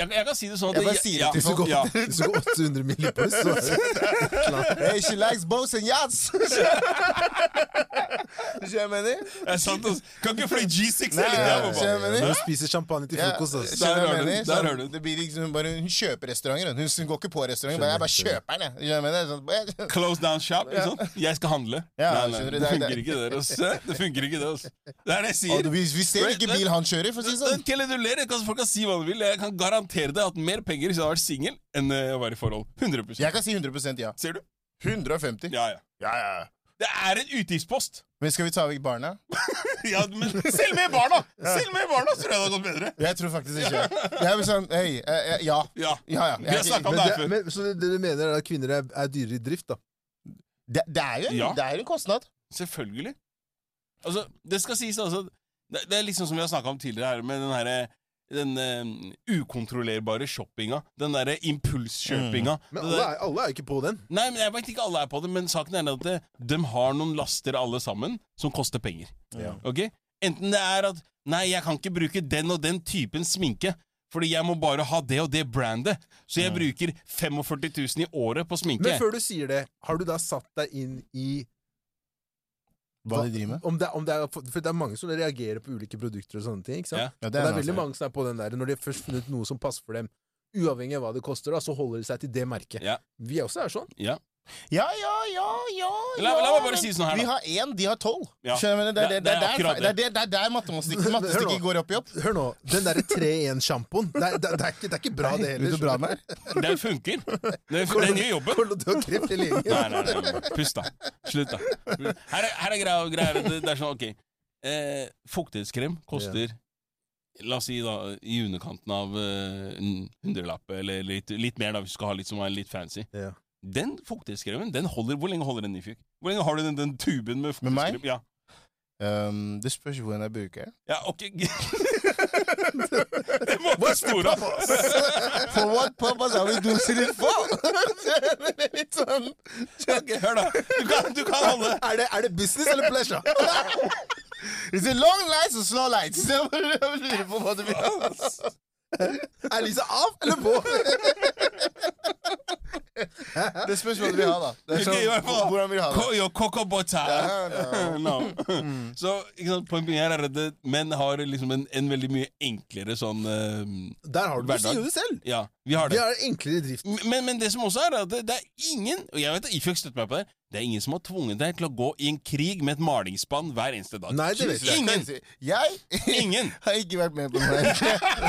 [SPEAKER 2] Jeg, jeg kan si det sånn at
[SPEAKER 3] Jeg bare sier det til
[SPEAKER 1] Hvis du går,
[SPEAKER 2] ja.
[SPEAKER 1] hvis du går 800 mil i pluss, så er det klart.
[SPEAKER 3] Hey, she likes boats and yachts! Skjønner du hva jeg mener?
[SPEAKER 2] Det er sant, altså. Kan ikke fly G6
[SPEAKER 3] Nei,
[SPEAKER 2] hele
[SPEAKER 3] Ja,
[SPEAKER 2] tida.
[SPEAKER 3] ja, skjønner du hva jeg
[SPEAKER 1] Når
[SPEAKER 3] mener?
[SPEAKER 1] du spiser champagne til
[SPEAKER 3] Ja,
[SPEAKER 1] frokost,
[SPEAKER 3] skjønner
[SPEAKER 1] altså.
[SPEAKER 3] du
[SPEAKER 2] Der har
[SPEAKER 3] hva jeg
[SPEAKER 2] du den,
[SPEAKER 3] mener?
[SPEAKER 2] der
[SPEAKER 3] Sånn,
[SPEAKER 2] har du den.
[SPEAKER 3] Det blir liksom bare Hun kjøper restauranter. hun. Hun går ikke på restauranter.
[SPEAKER 1] Skjønner,
[SPEAKER 3] Jeg bare kjøper den, jeg. Skjønner du hva jeg. mener? Sånn,
[SPEAKER 2] Close down shop.
[SPEAKER 3] Ja.
[SPEAKER 2] Ikke sant? Jeg skal handle.
[SPEAKER 3] Ja,
[SPEAKER 2] nei,
[SPEAKER 3] skjønner
[SPEAKER 2] nei, det
[SPEAKER 3] du, det er-
[SPEAKER 2] funker ikke det. Altså. Det funker ikke det altså. Det er det jeg
[SPEAKER 3] Og
[SPEAKER 2] sier.
[SPEAKER 3] vi, vi ser hvilken bil han kjører, for å si det sånn.
[SPEAKER 2] Kelly, du ler. Jeg kan- Folk kan si hva de vil. Jeg kan garantere deg at mer penger hvis jeg hadde vært singel, enn eh, å være i forhold. 100
[SPEAKER 3] Jeg kan si 100 ja.
[SPEAKER 2] Ser du?
[SPEAKER 3] 150.
[SPEAKER 2] Ja, ja.
[SPEAKER 3] Ja, ja.
[SPEAKER 2] Det er en utgiftspost!
[SPEAKER 3] Men skal vi ta vekk barna?
[SPEAKER 2] Ja, men selv med barna! Selv med barna så tror jeg det hadde gått bedre.
[SPEAKER 3] Jeg tror faktisk ikke Jeg blir sånn Hei, eh, eh, ja.
[SPEAKER 2] Ja.
[SPEAKER 3] Ja, ja.
[SPEAKER 2] Vi har snakket
[SPEAKER 1] Men,
[SPEAKER 2] om det her
[SPEAKER 1] det,
[SPEAKER 2] før.
[SPEAKER 1] men, så det du mener er at kvinner er, er dyrere i drift, da?
[SPEAKER 3] Det, det er jo en,
[SPEAKER 2] Ja.
[SPEAKER 3] det er jo en kostnad.
[SPEAKER 2] Selvfølgelig. Altså, det skal sies, altså Det, det er liksom som vi har snakka om tidligere her, med den herre den eh, ukontrollerbare shoppinga. Den derre impulskjøpinga.
[SPEAKER 1] Men
[SPEAKER 2] Det
[SPEAKER 1] alle
[SPEAKER 2] der-
[SPEAKER 1] er, alle er ikke på den.
[SPEAKER 2] Nei, men jeg vet ikke alle er på det, men saken er at eh, de har noen laster alle sammen som koster penger.
[SPEAKER 1] Ja.
[SPEAKER 2] Ok? Enten det er at Nei, jeg kan ikke bruke den og den typen sminke. Fordi jeg må bare ha det og det brandet. Så jeg bruker 45 000 i året på sminke.
[SPEAKER 1] Men før du sier det, har du da satt deg inn i
[SPEAKER 3] Hva de driver med.
[SPEAKER 1] Om det, om det er, for det er mange som reagerer på ulike produkter og sånne ting. ikke sant?
[SPEAKER 2] Ja.
[SPEAKER 1] Det
[SPEAKER 3] Ja,
[SPEAKER 1] er, det er
[SPEAKER 3] en
[SPEAKER 1] veldig
[SPEAKER 3] annen
[SPEAKER 1] mange som er på den der. Når de har først funnet noe som passer for dem, uavhengig av hva det koster, da, så holder de seg til det merket.
[SPEAKER 2] Ja.
[SPEAKER 1] Vi også er sånn.
[SPEAKER 2] Ja.
[SPEAKER 3] sak. Ja, ja, ja, ja, ja
[SPEAKER 2] La, la meg bare
[SPEAKER 3] men
[SPEAKER 2] si det sånn her,
[SPEAKER 3] Vi
[SPEAKER 2] da.
[SPEAKER 3] har én, de har tolv.
[SPEAKER 2] Ja.
[SPEAKER 3] Skjønner du? Det er-
[SPEAKER 2] Ja,
[SPEAKER 3] det- det
[SPEAKER 2] det er
[SPEAKER 3] er
[SPEAKER 2] akkurat
[SPEAKER 3] der- det er det- det er der mattematikk-
[SPEAKER 1] Hør nå.
[SPEAKER 3] mattestykket går opp i opp.
[SPEAKER 1] Hør nå, den derre 3-1-sjampoen, det, er- det, er- det, er ikke- det er ikke bra, det
[SPEAKER 3] Vet
[SPEAKER 1] heller.
[SPEAKER 3] du bra med?
[SPEAKER 2] Den funker. Den, den gjør jobben.
[SPEAKER 1] Kommer du til å ha kreft i linjen?
[SPEAKER 2] Nei, nei, nei, nei. Pust, da. Slutt, da. Her er, her er greia. greia det, det er sånn, ok. Eh, fuktighetskrem koster La oss si da i underkanten av eh, en hundrelapp, eller litt, litt mer, da hvis du skal ha litt som er litt fancy.
[SPEAKER 1] Ja.
[SPEAKER 2] Den fuktighetskremen, den holder Hvor lenge holder den i fyr? Hvor lenge har du den, den tuben med
[SPEAKER 3] Med meg?
[SPEAKER 2] fuktighetskrem? Ja.
[SPEAKER 3] Um, det spørs jo hvordan jeg bruker.
[SPEAKER 2] ja, ok. det må du store av.
[SPEAKER 3] For what purpose are we doing it for? Det er litt sånn
[SPEAKER 2] Ok, Hør, da. Du kan, du kan holde
[SPEAKER 3] er det, er det business eller pleasure? Is it long lights or slow lights? Jeg lurer på hva det blir.
[SPEAKER 1] Er lyset av eller på?
[SPEAKER 3] Det spørs hva du vil ha, da. Det er
[SPEAKER 2] Ok, i hvert
[SPEAKER 3] sånn,
[SPEAKER 2] fall.
[SPEAKER 3] hvordan vil du ha det?
[SPEAKER 2] Ko- jo, Coco Bota.
[SPEAKER 3] Ja, ja.
[SPEAKER 2] no. Så ikke sant, poenget her er at det- menn har liksom en, en veldig mye enklere sånn eh,
[SPEAKER 1] Der har du det. Du
[SPEAKER 2] Hverdag.
[SPEAKER 1] sier jo det selv.
[SPEAKER 2] Ja, vi har
[SPEAKER 1] Vi
[SPEAKER 2] det.
[SPEAKER 1] er enklere i drift.
[SPEAKER 2] Men, men det som også er, er at det, det er ingen Og jeg vet at Ifjøk støtter meg på det. Det er ingen som har tvunget deg til å gå i en krig med et malingsspann hver eneste dag.
[SPEAKER 1] Nei, det vet jeg.
[SPEAKER 2] Ingen.
[SPEAKER 3] Jeg
[SPEAKER 2] Ingen!
[SPEAKER 3] har ikke vært med på noe.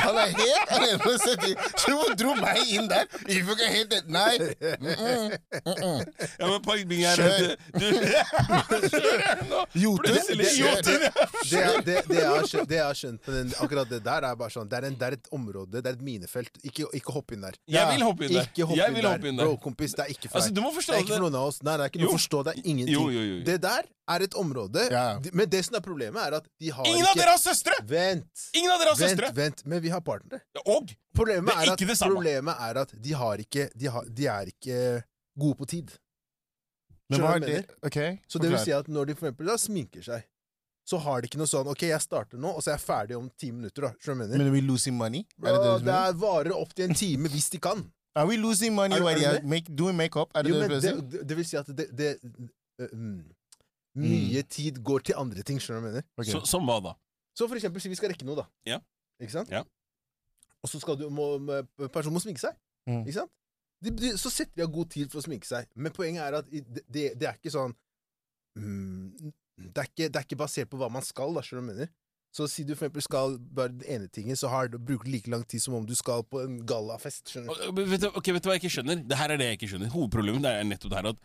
[SPEAKER 3] Han er helt alene på å sette inn. Tro dro meg inn der. If you can hit it. Nei. Mm -mm. Mm -mm.
[SPEAKER 2] Ja, men poenget er at
[SPEAKER 3] Kjør.
[SPEAKER 2] du Kjør nå!
[SPEAKER 3] Jotun.
[SPEAKER 2] Plutselig
[SPEAKER 3] Det-
[SPEAKER 2] Jotun, ja.
[SPEAKER 1] Det, er- det, det, jeg har skjønt, det jeg har skjønt med den, akkurat det der, er bare sånn Det er, en, det er et område, det er et minefelt. Ikke, ikke hopp inn der.
[SPEAKER 2] Jeg vil hoppe inn der.
[SPEAKER 1] Ikke hopp
[SPEAKER 2] Jeg
[SPEAKER 1] inn
[SPEAKER 2] vil
[SPEAKER 1] der.
[SPEAKER 2] hoppe inn der.
[SPEAKER 1] Bro, kompis, det er ikke for
[SPEAKER 2] Altså,
[SPEAKER 1] deg.
[SPEAKER 2] du må forstå
[SPEAKER 1] det er
[SPEAKER 2] at
[SPEAKER 1] ikke for
[SPEAKER 2] det-
[SPEAKER 1] noen av oss. Nei, det er ikke noe
[SPEAKER 2] Jo.
[SPEAKER 1] å forstå. Det er ingenting.
[SPEAKER 2] Jo, jo, jo, jo.
[SPEAKER 1] Det der er et område,
[SPEAKER 3] Ja.
[SPEAKER 1] de- men det som er problemet, er at de har
[SPEAKER 2] Ingen
[SPEAKER 1] ikke
[SPEAKER 2] av dere har søstre!
[SPEAKER 1] Vent!
[SPEAKER 2] Ingen av dere har
[SPEAKER 1] Vent,
[SPEAKER 2] søstre!
[SPEAKER 1] vent, men vi har partnere.
[SPEAKER 2] Og
[SPEAKER 1] Problemet
[SPEAKER 2] Det er
[SPEAKER 1] er, at,
[SPEAKER 2] ikke det samme.
[SPEAKER 1] problemet er at de har ikke de, har, de er ikke gode på tid.
[SPEAKER 3] Men hva
[SPEAKER 1] Skjønner
[SPEAKER 3] er
[SPEAKER 1] du hva jeg
[SPEAKER 3] det? Ok,
[SPEAKER 1] Så det vil
[SPEAKER 3] forklar.
[SPEAKER 1] si at når de for eksempel da sminker seg, så har de ikke noe sånn 'ok, jeg starter nå, og så er jeg ferdig om ti minutter', da. Skjønner du hva jeg mener?
[SPEAKER 3] Men er vi losing money? Er
[SPEAKER 1] Bro,
[SPEAKER 3] det det du
[SPEAKER 1] det
[SPEAKER 3] mener?
[SPEAKER 1] er varer opp til en time hvis de kan.
[SPEAKER 3] Are we losing money
[SPEAKER 1] Er du-
[SPEAKER 3] while
[SPEAKER 1] er du
[SPEAKER 3] you're
[SPEAKER 1] det?
[SPEAKER 3] make, doing makeup? Er det
[SPEAKER 1] Jo,
[SPEAKER 3] det
[SPEAKER 1] men
[SPEAKER 3] du
[SPEAKER 1] det,
[SPEAKER 3] prøver å si?
[SPEAKER 1] det- det vil si at det, det øh, mm, Mye tid går til andre ting, skjønner du hva jeg mener?
[SPEAKER 3] Ok.
[SPEAKER 2] så, som hva da?
[SPEAKER 1] Så for eksempel, si vi skal rekke noe, da.
[SPEAKER 2] Ja.
[SPEAKER 1] Ikke sant?
[SPEAKER 2] Ja.
[SPEAKER 1] Og så skal du, må, må- personen må sminke seg.
[SPEAKER 3] Mm.
[SPEAKER 1] Ikke sant? De, de, så setter de av god tid for å sminke seg. Men poenget er at i- det, det, det er ikke sånn mm, det, er ikke, det er ikke basert på hva man skal, da, skjønner du hva jeg mener? Så si du for eksempel skal bare den ene tingen, så har, bruker du like lang tid som om du skal på en gallafest. skjønner du?
[SPEAKER 2] Og- og Vet du, ok, vet du hva jeg ikke skjønner? Det her er det jeg ikke skjønner. Hovedproblemet det er nettopp det her at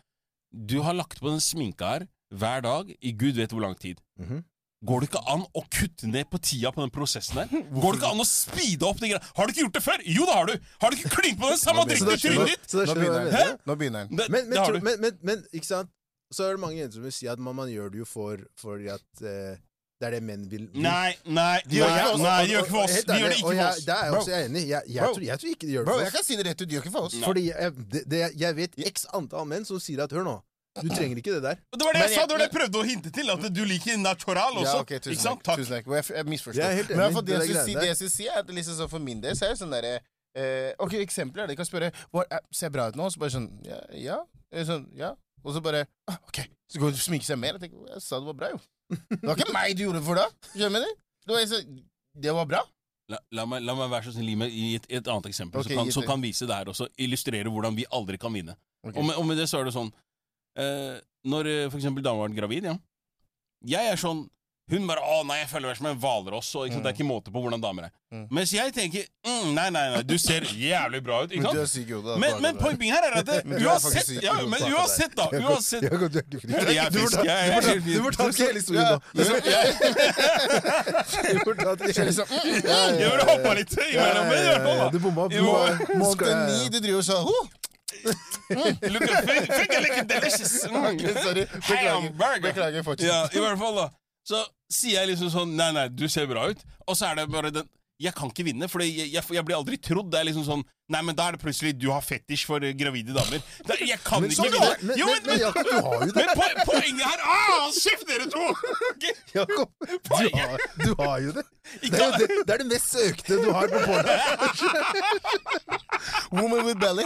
[SPEAKER 2] du har lagt på den sminka her hver dag i gud vet hvor lang tid.
[SPEAKER 1] Mhm.
[SPEAKER 2] Går det ikke an å kutte ned på tida på den prosessen her? Går det ikke an å speede opp de greiene? Har du ikke gjort det før? Jo, det har du! Har du ikke klint på den samme
[SPEAKER 3] Nå
[SPEAKER 1] Så
[SPEAKER 2] dritten
[SPEAKER 3] begynner-
[SPEAKER 1] da
[SPEAKER 2] i
[SPEAKER 1] skjønner du-
[SPEAKER 2] trynet ditt?
[SPEAKER 1] så da
[SPEAKER 3] Nå
[SPEAKER 1] skjønner du hva jeg
[SPEAKER 3] begynner
[SPEAKER 2] Hæ?
[SPEAKER 1] mener.
[SPEAKER 3] den. Nå begynner den.
[SPEAKER 2] Det,
[SPEAKER 1] Men, men,
[SPEAKER 2] det har
[SPEAKER 1] tro-
[SPEAKER 2] du.
[SPEAKER 1] men, men, men ikke sant? Så er det mange jenter som vil si at man, man gjør det jo for, fordi at eh, det er det menn vil. vil.
[SPEAKER 2] Nei, nei, de gjør
[SPEAKER 1] Nei,
[SPEAKER 2] ikke
[SPEAKER 1] og-
[SPEAKER 2] nei,
[SPEAKER 1] og-
[SPEAKER 2] de gjør ikke for
[SPEAKER 1] og-
[SPEAKER 2] oss!
[SPEAKER 1] helt
[SPEAKER 2] De gjør
[SPEAKER 1] ærlig,
[SPEAKER 2] det
[SPEAKER 1] og
[SPEAKER 2] ikke for
[SPEAKER 1] jeg-
[SPEAKER 2] oss!
[SPEAKER 1] Der er jeg
[SPEAKER 3] Bro.
[SPEAKER 1] også enig. Jeg, jeg,
[SPEAKER 3] Bro.
[SPEAKER 1] tror, jeg tror ikke de gjør det
[SPEAKER 3] Bro,
[SPEAKER 1] for
[SPEAKER 3] jeg
[SPEAKER 1] oss.
[SPEAKER 3] kan si det rett ut. De gjør ikke for oss.
[SPEAKER 2] Nei.
[SPEAKER 1] Fordi jeg, det, det, jeg vet x antall menn som sier at Hør nå, du trenger ikke det der.
[SPEAKER 2] Og Det var det
[SPEAKER 3] Men
[SPEAKER 2] jeg sa,
[SPEAKER 3] jeg-
[SPEAKER 2] det var det jeg prøvde å hinte til, at du liker natural også.
[SPEAKER 3] Ja, ok, tusen
[SPEAKER 2] ikke sant?
[SPEAKER 3] takk.
[SPEAKER 2] Takk.
[SPEAKER 3] Tusen takk. Jeg, jeg misforstod.
[SPEAKER 1] Jeg er helt
[SPEAKER 3] Men i hvert
[SPEAKER 1] enig,
[SPEAKER 3] fall det,
[SPEAKER 1] det
[SPEAKER 3] jeg
[SPEAKER 1] der
[SPEAKER 3] skulle si,
[SPEAKER 1] greiene
[SPEAKER 3] det jeg skulle si, er at liksom sånn for min del så er det sånn derre eh, Ok, eksempler er det. Jeg kan spørre Hva er- Ser jeg bra ut nå? Og så bare sånn Ja. ja. Eller Sånn, ja. Og så bare ah, OK. Så går du og sminker seg mer. Jeg tenker Jeg sa det var bra, jo. Det var ikke meg du gjorde det for da. Skjønner du? Det var, så, det var bra.
[SPEAKER 2] La, la, meg, la meg være så snill, gi meg i et, i et annet eksempel,
[SPEAKER 3] Ok,
[SPEAKER 2] så, kan,
[SPEAKER 3] gi
[SPEAKER 2] så
[SPEAKER 3] det.
[SPEAKER 2] kan vise det her også. Illustrere hvordan vi aldri kan vinne.
[SPEAKER 3] Ok.
[SPEAKER 2] Og, med, og med det så er det sånn eh, Når eh, for eksempel dama var gravid, ja. Jeg er sånn Hun bare 'Å nei, jeg føler meg som en hvalross', og ikke sant, det er ikke måte på hvordan damer er.
[SPEAKER 3] Mm.
[SPEAKER 2] Mens jeg tenker mm, 'Nei, nei, nei, du ser jævlig bra ut', ikke
[SPEAKER 3] Men du er
[SPEAKER 2] sant?
[SPEAKER 3] syk i hodet. da.
[SPEAKER 2] Men,
[SPEAKER 3] Du
[SPEAKER 2] men
[SPEAKER 3] har det der.
[SPEAKER 2] poenget her er at det,
[SPEAKER 3] Men du er faktisk
[SPEAKER 2] uansett,
[SPEAKER 3] syk i
[SPEAKER 2] ja,
[SPEAKER 3] hodet,
[SPEAKER 2] men
[SPEAKER 3] Jakob,
[SPEAKER 2] uansett, da uansett
[SPEAKER 1] Jakob, du er ikke flink.
[SPEAKER 2] Jeg er
[SPEAKER 1] Du
[SPEAKER 2] frisk,
[SPEAKER 1] fortalte-
[SPEAKER 2] jeg er helt
[SPEAKER 1] Du
[SPEAKER 2] fin.
[SPEAKER 1] fortalte hele historien nå.
[SPEAKER 2] Ja,
[SPEAKER 1] Du fortalte hele
[SPEAKER 3] Liksom, mm, ja, ja,
[SPEAKER 2] Jeg
[SPEAKER 3] ja.
[SPEAKER 2] ville hoppa litt imellom, men i hvert fall, da.
[SPEAKER 1] Du bomma.
[SPEAKER 2] Jo.
[SPEAKER 3] Måned ni, du driver og sa ho!
[SPEAKER 2] Look at fig- fig are looking delicious. Mm.
[SPEAKER 3] Sorry. Beklager.
[SPEAKER 2] Hamburger.
[SPEAKER 3] Beklager, fortsett.
[SPEAKER 2] Ja, i hvert fall, da. Så sier jeg liksom sånn Nei, nei, du ser bra ut. Og så er det bare den Jeg kan ikke vinne, for jeg, jeg, jeg blir aldri trodd. Det er liksom sånn Nei, men da er det plutselig du har fetisj for eh, gravide damer. Det, er- jeg kan
[SPEAKER 1] Men
[SPEAKER 2] ikke
[SPEAKER 1] sånn
[SPEAKER 2] vinne.
[SPEAKER 1] er- men-
[SPEAKER 2] Jo,
[SPEAKER 1] men- men Jakob, du har jo det.
[SPEAKER 2] Men po- poenget her ah, Kjeft, dere to! Ok,
[SPEAKER 1] Jakob, du har, du har jo det. Det
[SPEAKER 2] Ikke-
[SPEAKER 1] er, jo det. det er det mest søkte du har på porno.
[SPEAKER 3] Woman with belly.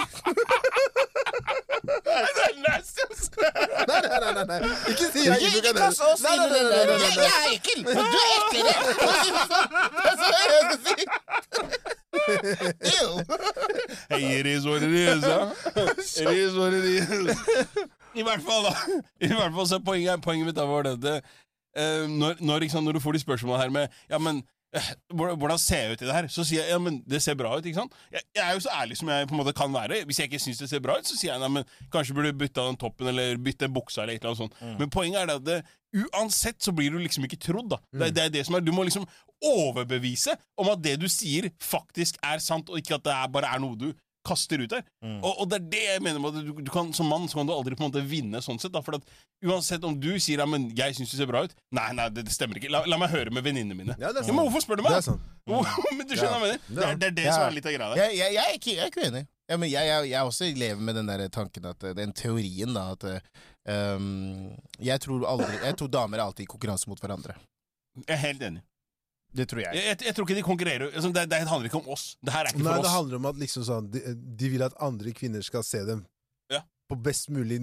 [SPEAKER 2] Nei, det er nasty, altså.
[SPEAKER 1] Nei, nei, nei, nei, nei. Ikke si jeg ikke kan høre. Nei, nei, nei, nei, nei, nei, nei.
[SPEAKER 3] er ekkel! Du er ekkel! Det er det jeg skal si! Ew.
[SPEAKER 2] Hey, it is what it is, ja. It is what it is. I hvert fall, da. I hvert fall så er poenget, poenget mitt da var det at eh, når, når, ikke sant, når du får de spørsmålene her med Ja, men eh, hvor- hvordan ser jeg ut i det her? Så sier jeg ja, men det ser bra ut. ikke sant? Jeg, jeg er jo så ærlig som jeg på en måte kan være. Hvis jeg ikke syns det ser bra ut, så sier jeg nei, men kanskje burde du bytte av den toppen eller bytte buksa eller et eller annet sånt. Men poenget er det at det, uansett så blir du liksom ikke trodd, da. Det, det er det som er, Du må liksom overbevise om at det du sier, faktisk er sant, og ikke at det er, bare er noe du kaster ut der.
[SPEAKER 1] Mm.
[SPEAKER 2] Og, og det er det jeg mener med at du, du kan, som mann så kan du aldri på en måte vinne sånn sett. Da, for at uansett om du sier ja, men jeg syns du ser bra ut Nei, nei, det, det stemmer ikke. La, la meg høre med venninnene mine.
[SPEAKER 1] Ja, det er
[SPEAKER 2] Jo,
[SPEAKER 1] sant.
[SPEAKER 2] men hvorfor spør du
[SPEAKER 1] Det
[SPEAKER 2] meg?
[SPEAKER 1] er sant.
[SPEAKER 2] Jo, men du skjønner hva jeg mener? Det er det, er det
[SPEAKER 3] Ja.
[SPEAKER 2] som er litt av greia der.
[SPEAKER 3] Jeg, jeg, jeg, er ikke, jeg er ikke uenig. Ja, men jeg, jeg, jeg også lever med den der tanken at eh, Den teorien, da, at eh, um, jeg, tror aldri, jeg tror damer er alltid i konkurranse mot hverandre.
[SPEAKER 2] Jeg er helt enig.
[SPEAKER 3] Det tror
[SPEAKER 2] Jeg,
[SPEAKER 3] jeg.
[SPEAKER 2] jeg, jeg tror ikke de konkurrerer. Altså, det, det handler ikke om oss. Det her er ikke
[SPEAKER 1] Nei,
[SPEAKER 2] for
[SPEAKER 1] det
[SPEAKER 2] oss.
[SPEAKER 1] handler om at liksom sånn, de, de vil at andre kvinner skal se dem
[SPEAKER 2] Ja.
[SPEAKER 1] på best mulig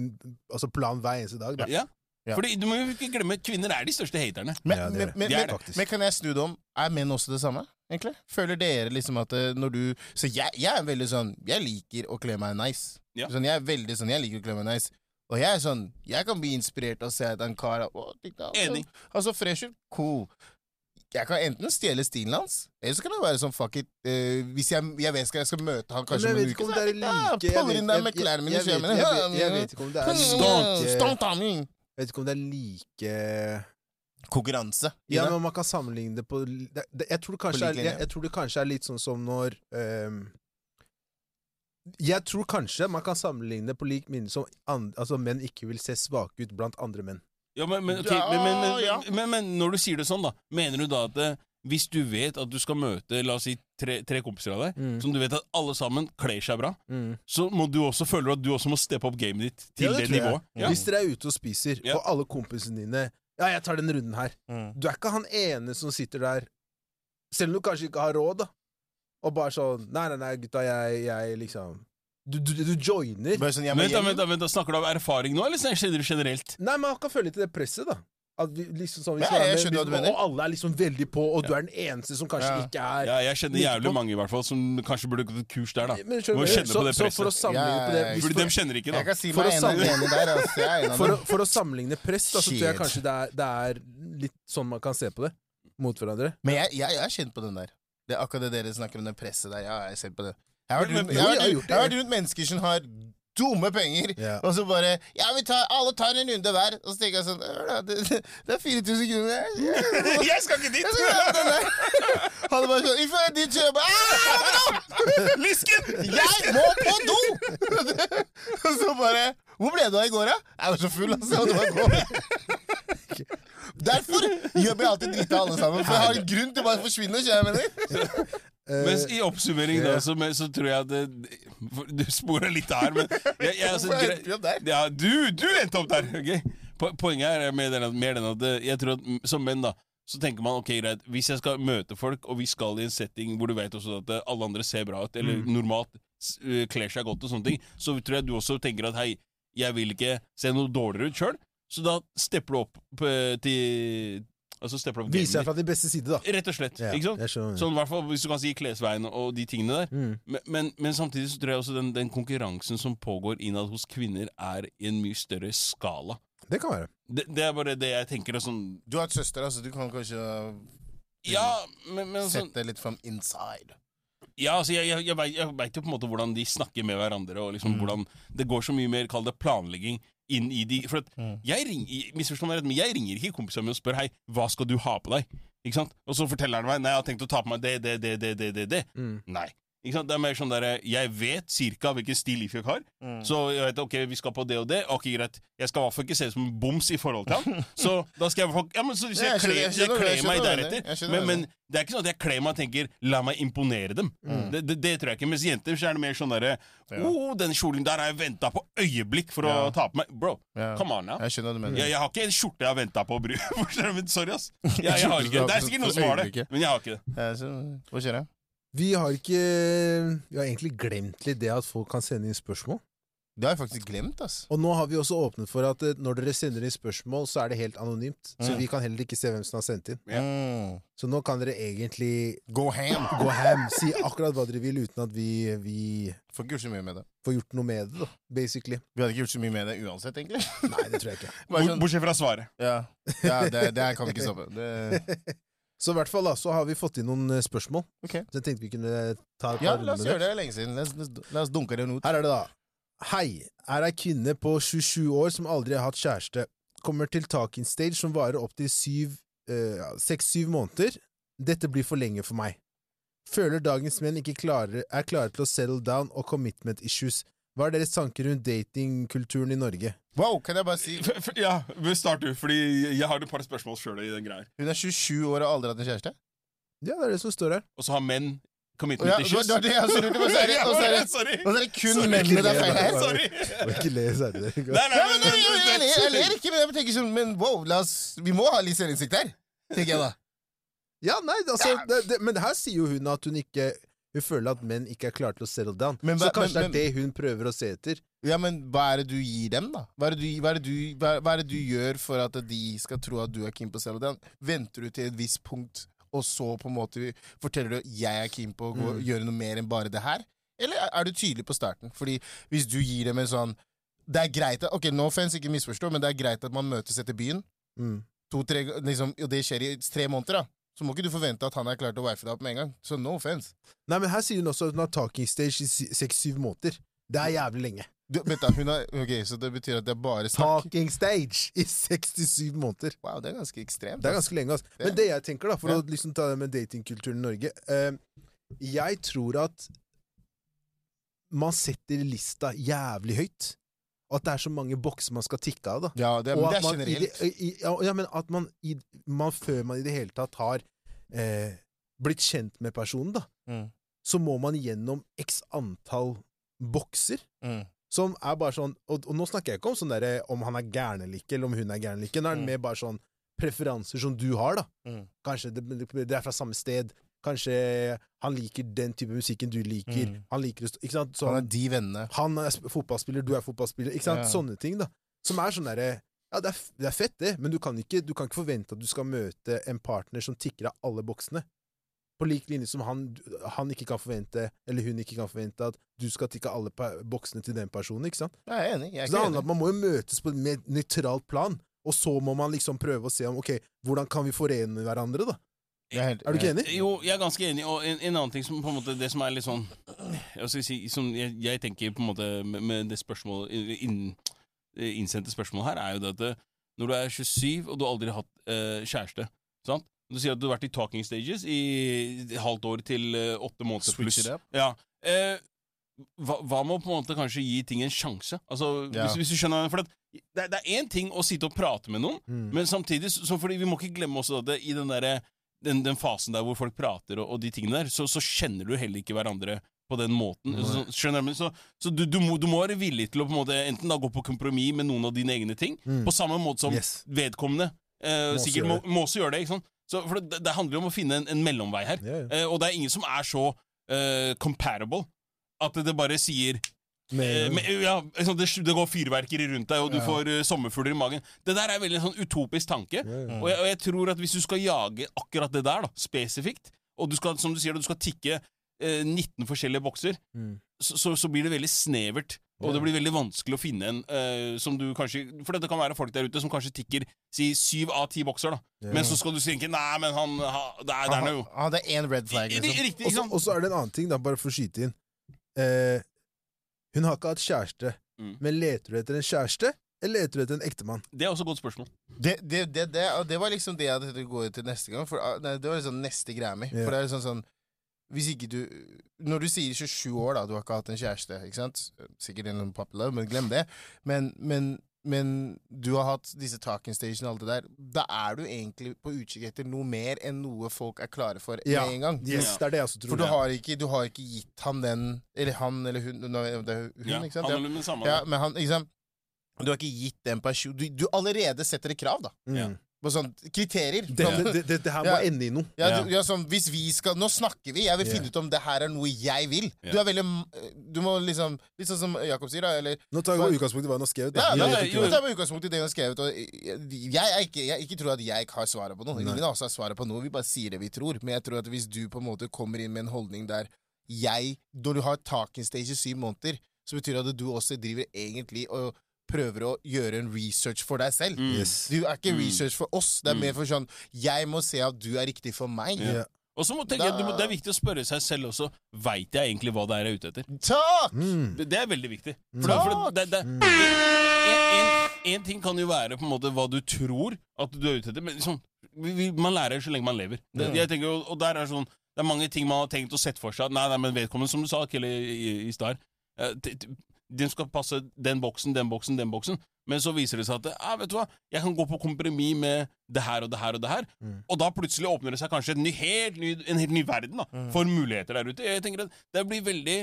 [SPEAKER 1] altså plan hver eneste dag. Da.
[SPEAKER 2] Ja.
[SPEAKER 3] Ja.
[SPEAKER 2] Fordi du må jo ikke glemme kvinner er de største haterne.
[SPEAKER 3] Men,
[SPEAKER 1] Ja, det er
[SPEAKER 3] men,
[SPEAKER 1] det.
[SPEAKER 3] men,
[SPEAKER 2] Det er
[SPEAKER 3] men,
[SPEAKER 2] det
[SPEAKER 1] faktisk.
[SPEAKER 3] men kan jeg snu det om? Er menn også det samme? egentlig? Føler dere liksom at eh, når du Så jeg, jeg er veldig sånn Jeg liker å kle meg nice.
[SPEAKER 2] Ja.
[SPEAKER 3] Sånn, jeg er veldig sånn Jeg liker å kle meg nice. Og jeg er sånn Jeg kan bli inspirert av å se at en kar er- å, tikk, da,
[SPEAKER 2] Enig.
[SPEAKER 3] Altså, fresh ut, cool. Jeg kan enten stjele stilen hans, eller så kan det være sånn fuck it eh, Hvis jeg, jeg vet skal, jeg skal møte han
[SPEAKER 1] Men
[SPEAKER 3] kanskje
[SPEAKER 1] jeg
[SPEAKER 3] om en
[SPEAKER 1] vet
[SPEAKER 3] uke,
[SPEAKER 1] ikke om
[SPEAKER 3] så
[SPEAKER 1] det er
[SPEAKER 3] er det-
[SPEAKER 1] like
[SPEAKER 3] ja, puller inn der med klærne mine,
[SPEAKER 1] jeg,
[SPEAKER 3] så gjør
[SPEAKER 1] vet,
[SPEAKER 3] jeg,
[SPEAKER 1] jeg,
[SPEAKER 3] men-
[SPEAKER 1] vet, jeg vet ikke om det er
[SPEAKER 3] Kom
[SPEAKER 2] Stonk,
[SPEAKER 3] igjen,
[SPEAKER 1] eh,
[SPEAKER 3] stonk, timing.
[SPEAKER 1] Jeg vet ikke om det er like
[SPEAKER 3] Konkurranse.
[SPEAKER 1] Ja,
[SPEAKER 3] Ina.
[SPEAKER 1] men man kan sammenligne det på det, det, jeg, tror det kanskje
[SPEAKER 3] lik
[SPEAKER 1] er, jeg,
[SPEAKER 3] linje.
[SPEAKER 1] jeg tror det kanskje er litt sånn som når ehm, Jeg tror kanskje man kan sammenligne det på lik minne som an- altså, menn ikke vil se svake ut blant andre menn.
[SPEAKER 2] Ja, men, men, ok,
[SPEAKER 3] Ja,
[SPEAKER 2] men, men, men,
[SPEAKER 3] ja.
[SPEAKER 2] men, men når du sier det sånn, da, mener du da at eh, hvis du vet at du skal møte la oss si, tre, tre kompiser av deg,
[SPEAKER 3] Mm,
[SPEAKER 2] som du vet at alle sammen kler seg bra,
[SPEAKER 1] Mm.
[SPEAKER 2] så må du også føle at du også må steppe opp gamet ditt til
[SPEAKER 1] Ja,
[SPEAKER 2] det,
[SPEAKER 1] det tror jeg.
[SPEAKER 2] nivået? Ja.
[SPEAKER 1] Hvis dere er ute og spiser,
[SPEAKER 2] Ja.
[SPEAKER 1] og alle kompisene dine Ja, jeg tar den runden her. Du er ikke han ene som sitter der, selv om du kanskje ikke har råd, da, og bare sånn Nei, nei, nei, gutta, jeg, jeg liksom Du, du, du joiner.
[SPEAKER 3] Bare sånn, jeg må
[SPEAKER 2] Vent, da,
[SPEAKER 3] hjem.
[SPEAKER 2] vent, da, vent, da, snakker du av erfaring nå, eller kjenner du generelt?
[SPEAKER 1] Nei, men han kan føle til det presset, da. At vi, liksom sånn, vi
[SPEAKER 3] Ja,
[SPEAKER 1] skal være
[SPEAKER 3] jeg
[SPEAKER 1] med,
[SPEAKER 3] skjønner hva du
[SPEAKER 1] vi-
[SPEAKER 3] mener.
[SPEAKER 1] Og alle er liksom veldig på, og du er den eneste som kanskje
[SPEAKER 3] Ja.
[SPEAKER 1] ikke er
[SPEAKER 2] Ja, jeg kjenner
[SPEAKER 1] Midt
[SPEAKER 2] jævlig
[SPEAKER 1] på.
[SPEAKER 2] mange i hvert fall som kanskje burde gått et kurs der, da.
[SPEAKER 1] Men skjønner
[SPEAKER 2] Må
[SPEAKER 1] du?
[SPEAKER 2] kjenne på
[SPEAKER 1] så,
[SPEAKER 2] det
[SPEAKER 1] så for å sammenligne på det
[SPEAKER 3] Ja,
[SPEAKER 1] hvis
[SPEAKER 2] Fordi
[SPEAKER 1] du-
[SPEAKER 2] dem kjenner ikke,
[SPEAKER 3] Jeg
[SPEAKER 2] da.
[SPEAKER 3] kan si
[SPEAKER 1] For
[SPEAKER 3] meg
[SPEAKER 1] å
[SPEAKER 3] en av
[SPEAKER 1] samle-
[SPEAKER 3] enig der. Altså, jeg er en av
[SPEAKER 1] for, å,
[SPEAKER 3] dem.
[SPEAKER 1] for å sammenligne press, da, så tror jeg
[SPEAKER 3] Shit.
[SPEAKER 1] kanskje det er, det er litt sånn man kan se på det. Mot hverandre.
[SPEAKER 3] Men jeg, jeg, jeg er kjent på den der. Det er akkurat det dere snakker om, det presset der. Ja, jeg er kjent på det. Jeg har vært
[SPEAKER 2] Men-
[SPEAKER 3] rundt,
[SPEAKER 2] men-
[SPEAKER 3] jeg har
[SPEAKER 1] jo, jeg har
[SPEAKER 3] vært rundt,
[SPEAKER 1] gjort det.
[SPEAKER 3] jeg har vært rundt mennesker som har dumme penger,
[SPEAKER 1] Ja.
[SPEAKER 3] og så bare Ja, vi tar, alle tar en runde hver. Og så tenker jeg sånn «Ja, Det, det er 4000 kroner. Jeg-
[SPEAKER 2] Jeg skal ikke
[SPEAKER 3] Jeg skal gjøre
[SPEAKER 2] dit!
[SPEAKER 3] den der. Han bare sånn If I did you bare, «Ah,
[SPEAKER 2] Lisken!
[SPEAKER 3] Jeg må på do! Og så bare Hvor ble du av i går, da? Jeg var så full, altså. Det var går. Derfor gjør vi alltid dritt av alle sammen. For jeg har en grunn til å bare forsvinne. Kjære venner.
[SPEAKER 1] Eh,
[SPEAKER 2] Mens i oppsummering da,
[SPEAKER 1] ja.
[SPEAKER 2] så, men, så tror jeg at det, for- Du sporer litt her, men jeg, jeg, altså,
[SPEAKER 3] Hvorfor
[SPEAKER 2] gre-
[SPEAKER 3] endte vi opp der?
[SPEAKER 2] Ja, du, du endte opp der! ok? Po- Poenget er mer den, at- mer den at det- jeg tror at m- som menn da så tenker man ok, greit, hvis jeg skal møte folk, og vi skal i en setting hvor du vet også at eh, alle andre ser bra ut, eller
[SPEAKER 1] Mm.
[SPEAKER 2] normalt s- eh, kler seg godt og sånne ting, så tror jeg du også tenker at hei, jeg vil ikke se noe dårligere ut sjøl, så da stepper du opp på, til Altså stepper du opp
[SPEAKER 1] Viser jeg
[SPEAKER 2] gamet
[SPEAKER 1] fra din beste side, da.
[SPEAKER 2] ditt. Rett og slett.
[SPEAKER 1] Ja,
[SPEAKER 2] ikke sant?
[SPEAKER 1] jeg skjønner.
[SPEAKER 2] Sånn, i hvert fall Hvis du kan si klesveien og de tingene der.
[SPEAKER 1] Mm.
[SPEAKER 2] Men, men, men samtidig så tror jeg også den, den konkurransen som pågår innad hos kvinner, er i en mye større skala.
[SPEAKER 1] Det kan være.
[SPEAKER 2] Det, det er bare det jeg tenker. og Sånn,
[SPEAKER 3] Du har et søster, altså. Du kan kanskje
[SPEAKER 2] ja, men, men sånn
[SPEAKER 3] sette det litt from inside.
[SPEAKER 2] Ja, altså jeg, jeg, jeg, vet, jeg vet jo på en måte hvordan de snakker med hverandre, og liksom hvordan det går så mye mer, kall det planlegging, inn i de For at jeg ringer, misforstå meg rett, men jeg ringer ikke kompisene mine og spør hei, hva skal du ha på deg? Ikke sant? Og så forteller han meg nei, jeg har tenkt å ta på meg det, det, det, det, det, det. det.
[SPEAKER 3] Mm.
[SPEAKER 2] Nei. Ikke sant? Det er mer sånn der, jeg vet cirka hvilken stil Ifjok har,
[SPEAKER 3] Mm.
[SPEAKER 2] så jeg vet ok, vi skal på det og det. Ok, greit. Jeg skal i hvert fall ikke se ut som en boms i forhold til han. Så da skal jeg i hvert fall- ja, men så hvis
[SPEAKER 3] Ja,
[SPEAKER 2] jeg
[SPEAKER 3] jeg skjønner-
[SPEAKER 2] kler
[SPEAKER 3] jeg
[SPEAKER 2] hvis jeg
[SPEAKER 3] skjønner- jeg
[SPEAKER 2] kler meg
[SPEAKER 3] skjønner hva du mener. Jeg
[SPEAKER 2] deretter
[SPEAKER 3] skjønner hva
[SPEAKER 2] men,
[SPEAKER 3] du
[SPEAKER 2] men det er ikke sånn at jeg kler meg og tenker 'la meg imponere dem'.
[SPEAKER 3] Mm.
[SPEAKER 2] Det, det, det tror jeg ikke. Mens jenter så er det mer sånn derre 'Å, den kjolen der har jeg venta på øyeblikk for
[SPEAKER 3] Ja.
[SPEAKER 2] å ta på meg'. Bro,
[SPEAKER 3] Ja.
[SPEAKER 2] come on now.
[SPEAKER 3] Jeg skjønner hva du mener.
[SPEAKER 2] Jeg, jeg har ikke en skjorte jeg har venta på å bruke. Forstår du? Men Sorry, ass. Jeg, jeg har ikke. Det er sikkert noen som har det, men jeg har ikke det.
[SPEAKER 3] Ja, så- Hva skjer? da?
[SPEAKER 1] Vi har ikke Vi har egentlig glemt litt det at folk kan sende inn spørsmål.
[SPEAKER 3] Det har jeg faktisk glemt, ass.
[SPEAKER 1] Og nå har vi også åpnet for at eh, når dere sender inn spørsmål, så er det helt anonymt. Så
[SPEAKER 3] Mm.
[SPEAKER 1] vi kan heller ikke se hvem som har sendt inn.
[SPEAKER 2] Ja.
[SPEAKER 3] Mm.
[SPEAKER 1] Så nå kan dere egentlig
[SPEAKER 3] Go ham!
[SPEAKER 1] gå ham, si akkurat hva dere vil, uten at vi, vi
[SPEAKER 3] Får ikke gjort så mye med det.
[SPEAKER 1] får gjort noe med det, da. Basically.
[SPEAKER 3] Vi hadde ikke gjort så mye med det uansett, egentlig.
[SPEAKER 1] Nei, det tror jeg ikke.
[SPEAKER 3] Bare sånn,
[SPEAKER 2] Bortsett fra svaret.
[SPEAKER 3] ja, ja det, det her kan vi ikke stoppe. Det,
[SPEAKER 1] Så i hvert fall da, så har vi fått inn noen eh, spørsmål.
[SPEAKER 3] Ok.
[SPEAKER 1] Så jeg tenkte vi kunne ta et par
[SPEAKER 3] ja,
[SPEAKER 1] runder
[SPEAKER 3] la oss
[SPEAKER 1] med det.
[SPEAKER 3] gjøre det. Det er lenge siden. La oss, la oss- la oss dunke den ut.
[SPEAKER 1] Her er det da. Hei, er ei kvinne på 27 år som aldri har hatt kjæreste. Kommer til talking stage som varer opptil 6-7 eh, måneder. Dette blir for lenge for meg. Føler dagens menn ikke klarer, er klare til å settle down og commitment issues. Hva er deres tanker rundt datingkulturen i Norge?
[SPEAKER 3] Wow, kan jeg bare si
[SPEAKER 2] F- f- Ja, men start du, fordi jeg har et par spørsmål sjøl i den greia. her.
[SPEAKER 3] Hun er 27 år og har aldri hatt en kjæreste?
[SPEAKER 1] Ja, det er det som står her.
[SPEAKER 2] Og så har menn
[SPEAKER 3] Å
[SPEAKER 2] commitment
[SPEAKER 3] Ja, det
[SPEAKER 2] issues.
[SPEAKER 3] var det var det jeg lurte på. Så er det-
[SPEAKER 2] Ja,
[SPEAKER 3] Og så er det-
[SPEAKER 2] sorry!
[SPEAKER 3] og så er det kun
[SPEAKER 2] Sorry.
[SPEAKER 3] mennene det er feil her.
[SPEAKER 2] Sorry!
[SPEAKER 1] Må ikke le særlig.
[SPEAKER 2] Nei, nei,
[SPEAKER 3] Ja, men, nei,
[SPEAKER 2] men-
[SPEAKER 3] jeg, jeg, ler- jeg ler ikke, men jeg tenker sånn Men wow, la oss, vi må ha litt selvinnsikt her, tenker jeg da.
[SPEAKER 1] Ja, nei, altså, det, det, men her sier jo hun at hun ikke Hun føler at menn ikke er klare til å settle down.
[SPEAKER 3] Men
[SPEAKER 1] Så
[SPEAKER 3] hva-
[SPEAKER 1] kanskje
[SPEAKER 3] men-
[SPEAKER 1] det er det hun prøver å se etter.
[SPEAKER 3] Ja, men hva er det du gir dem, da? Hva er det du, hva er det du, hva, hva er det du gjør for at de skal tro at du er keen på selv? Den? Venter du til et visst punkt, og så på en måte forteller du at jeg er keen på å gå,
[SPEAKER 1] Mm.
[SPEAKER 3] gjøre noe mer enn bare det her? Eller er- er du tydelig på starten? Fordi hvis du gir dem en sånn Det er greit at, Ok, no offense, ikke misforstå, men det er greit at man møtes etter byen.
[SPEAKER 1] Mm.
[SPEAKER 3] to-tre liksom, Og det skjer i tre måneder, da. Så må ikke du forvente at han er klar til å wife deg opp med en gang. Så no offense.
[SPEAKER 1] Nei, men her sier hun også at hun har talking stage i sy- seks-syv måneder. Det er jævlig lenge.
[SPEAKER 3] Du, vent da, hun har, ok, Så det betyr at det er bare snakk?
[SPEAKER 1] Talking stage i 67 måneder.
[SPEAKER 3] Wow, det er ganske ekstremt.
[SPEAKER 1] Det er ganske lenge, altså. Men det jeg tenker, da, for
[SPEAKER 3] Ja.
[SPEAKER 1] å liksom ta det med datingkulturen i Norge eh, Jeg tror at man setter lista jævlig høyt. Og at det er så mange bokser man skal tikke av, da.
[SPEAKER 3] Ja, det,
[SPEAKER 1] og
[SPEAKER 3] men det
[SPEAKER 1] at
[SPEAKER 3] er
[SPEAKER 1] man, i det,
[SPEAKER 3] generelt.
[SPEAKER 1] i, ja, ja, men at man, i, man før man i det hele tatt har eh, blitt kjent med personen, da,
[SPEAKER 3] Mm.
[SPEAKER 1] så må man gjennom x antall bokser.
[SPEAKER 3] Mm.
[SPEAKER 1] Som er bare sånn Og, og nå snakker jeg ikke om sånn derre om han er gæren eller ikke, eller om hun er gæren eller ikke. Nå er det
[SPEAKER 3] Mm.
[SPEAKER 1] mer bare sånn preferanser som du har, da.
[SPEAKER 3] Mm.
[SPEAKER 1] Kanskje det- dere er fra samme sted. Kanskje han liker den type musikken du liker.
[SPEAKER 3] Mm.
[SPEAKER 1] Han liker å stå Ikke sant?
[SPEAKER 3] Han
[SPEAKER 1] Sånn,
[SPEAKER 3] er de vennene.
[SPEAKER 1] han er sp- fotballspiller, du er fotballspiller. Ikke sant?
[SPEAKER 3] Ja.
[SPEAKER 1] Sånne ting, da. Som er sånn derre Ja, det er, f- det er fett, det, men du kan, ikke, du kan ikke forvente at du skal møte en partner som tikker av alle boksene. På lik linje som han, han ikke kan forvente, eller hun ikke kan forvente, at du skal tikke av alle pa- boksene til den personen. ikke sant?
[SPEAKER 3] Jeg er enig. Jeg
[SPEAKER 1] Så det
[SPEAKER 3] er
[SPEAKER 1] handler om
[SPEAKER 3] ikke
[SPEAKER 1] at Man må jo møtes på et mer nøytralt plan, og så må man liksom prøve å se om ok, hvordan kan vi forene hverandre. da?
[SPEAKER 3] enig.
[SPEAKER 1] Er du ikke enig?
[SPEAKER 2] Jo, jeg er ganske enig, og en, en annen ting som på en måte Det som er litt sånn Jeg, skal si, som jeg, jeg tenker på en måte med, med det spørsmålet inn- eh, innsendte spørsmålet her, er jo det at det, når du er 27 og du har aldri har hatt eh, kjæreste sant? Du sier at du har vært i talking stages i et halvt år til eh, åtte måneder pluss.
[SPEAKER 3] Switch it up.
[SPEAKER 2] Ja. Eh, hva, hva med å på en måte kanskje gi ting en sjanse? Altså,
[SPEAKER 3] Ja.
[SPEAKER 2] hvis, hvis du skjønner For at det, det er én ting å sitte og prate med noen,
[SPEAKER 1] Mm.
[SPEAKER 2] men samtidig, så, så fordi vi må ikke glemme også at det, i den, derre- den, den fasen der hvor folk prater og, og de tingene der, så, så kjenner du heller ikke hverandre på den måten.
[SPEAKER 1] Nei.
[SPEAKER 2] Så, skjønner du? Men Så, så du, du, må, du må være villig til å på en måte enten da gå på kompromiss med noen av dine egne ting,
[SPEAKER 1] Mm.
[SPEAKER 2] på samme måte som
[SPEAKER 1] Yes.
[SPEAKER 2] vedkommende eh,
[SPEAKER 1] Må også
[SPEAKER 2] sikkert må,
[SPEAKER 1] gjøre
[SPEAKER 2] må også gjøre det. ikke sant? Så, for det, det handler jo om å finne en, en mellomvei her.
[SPEAKER 1] Ja, ja.
[SPEAKER 2] Eh, og det er ingen som er så eh, comparable at det bare sier Eh,
[SPEAKER 1] Men,
[SPEAKER 2] men, ja, liksom, det, det går fyrverkeri rundt deg, og du
[SPEAKER 3] Ja.
[SPEAKER 2] får eh, sommerfugler i magen. Det der er veldig sånn utopisk tanke.
[SPEAKER 1] ja,
[SPEAKER 3] Mm.
[SPEAKER 1] ja.
[SPEAKER 2] Og jeg, og jeg tror at hvis du skal jage akkurat det der, da, spesifikt, og du skal, som du sier, du skal tikke eh, 19 forskjellige bokser,
[SPEAKER 1] Mm.
[SPEAKER 2] så, så, så blir det veldig snevert. Og det blir veldig vanskelig å finne en eh, som du kanskje For det kan være folk der ute som kanskje tikker si syv av ti bokser, da.
[SPEAKER 1] Ja.
[SPEAKER 2] Men så skal du tenke Nei, men han ha, Det er der nå, jo.
[SPEAKER 3] Han hadde én red flag,
[SPEAKER 2] I- i-
[SPEAKER 3] liksom.
[SPEAKER 2] Riktig,
[SPEAKER 1] Og
[SPEAKER 2] ikke
[SPEAKER 1] så-
[SPEAKER 2] sant?
[SPEAKER 1] Og så er det en annen ting, da, bare for å skyte inn. Eh, hun har ikke hatt kjæreste,
[SPEAKER 2] Mm.
[SPEAKER 1] men leter du etter en kjæreste, eller leter du etter en ektemann?
[SPEAKER 2] Det er også et godt spørsmål.
[SPEAKER 3] Det, det, det, det, og det var liksom det jeg hadde tenkt å gå til neste gang. For ah, nei, Det var liksom neste greia mi.
[SPEAKER 1] Ja.
[SPEAKER 3] For det er liksom sånn Hvis ikke du Når du sier 27 år, da, du har ikke hatt en kjæreste, ikke sant? Sikkert en eller annen puppy love, men glem det. Men, men, men du har hatt disse talking station og alt det der. Da er du egentlig på utkikk etter noe mer enn noe folk er klare for
[SPEAKER 1] Ja.
[SPEAKER 3] med en gang.
[SPEAKER 1] Yes,
[SPEAKER 2] Ja.
[SPEAKER 1] Det er det jeg også tror.
[SPEAKER 3] For du har, ikke, du har ikke gitt ham den Eller han eller hun nå, Det er hun,
[SPEAKER 2] Ja,
[SPEAKER 3] ikke sant?
[SPEAKER 2] han
[SPEAKER 3] Ja.
[SPEAKER 2] er den samme.
[SPEAKER 3] Ja, men han, ikke sant? Du har ikke gitt den personen du, du allerede setter et krav, da.
[SPEAKER 2] Ja.
[SPEAKER 1] Mm.
[SPEAKER 3] På sånn kriterier.
[SPEAKER 1] Dette- det, det, det her må
[SPEAKER 3] Ja.
[SPEAKER 1] ende i noe.
[SPEAKER 3] ja,
[SPEAKER 2] Ja.
[SPEAKER 3] du, ja, sånn, hvis vi skal Nå snakker vi! Jeg vil
[SPEAKER 1] Ja.
[SPEAKER 3] finne ut om det her er noe jeg vil.
[SPEAKER 2] Ja.
[SPEAKER 3] Du er veldig Du må liksom Litt sånn som Jakob sier, da. Eller
[SPEAKER 1] Nå tar vi utgangspunkt i hva hun har skrevet. da.
[SPEAKER 3] ja,
[SPEAKER 2] ja,
[SPEAKER 3] nei,
[SPEAKER 2] ja,
[SPEAKER 1] Jeg vet
[SPEAKER 2] jo,
[SPEAKER 1] ikke
[SPEAKER 3] Det er med utgangspunkt i det hun har skrevet. Og jeg, jeg, er ikke, jeg ikke tror at jeg ikke har svaret på noe.
[SPEAKER 1] Nei.
[SPEAKER 3] Ingen av oss har svaret på noe, vi bare sier det vi tror. Men jeg tror at hvis du på en måte kommer inn med en holdning der jeg Når du har talking stage i syv måneder, så betyr det at du også driver egentlig og prøver å gjøre en research for deg selv.
[SPEAKER 2] Mm.
[SPEAKER 1] hva- Yes.
[SPEAKER 3] Du er ikke
[SPEAKER 2] Mm.
[SPEAKER 3] research for oss, det er
[SPEAKER 2] Mm.
[SPEAKER 3] mer for sånn Jeg må se at du er riktig for meg.
[SPEAKER 1] Ja.
[SPEAKER 2] Og så må tenke,
[SPEAKER 3] Da-
[SPEAKER 2] du må, Det er viktig å spørre seg selv også Veit jeg egentlig hva det er jeg er ute etter.
[SPEAKER 3] Takk!
[SPEAKER 1] Mm.
[SPEAKER 2] Det, det er veldig viktig.
[SPEAKER 1] Mm.
[SPEAKER 2] For, da- for det, det, det, en, en, en ting kan jo være på en måte hva du tror at du er ute etter, men liksom, vi, vi, man lærer så lenge man lever. Det,
[SPEAKER 1] Ja.
[SPEAKER 2] jeg tenker, jo- og der er sånn, det er mange ting man har tenkt og sett for seg. Nei, nei, men vedkommende, som du sa, Kelle i, i, i stad, eh, t- t- den skal passe den boksen, den boksen, den boksen. Men så viser det seg at eh, vet du hva, jeg kan gå på kompromiss med det her og det her og det her.
[SPEAKER 1] Mm.
[SPEAKER 2] Og da plutselig åpner det seg kanskje en ny, helt ny, en helt ny verden da,
[SPEAKER 3] Mm.
[SPEAKER 2] for muligheter der ute. Jeg tenker at det blir veldig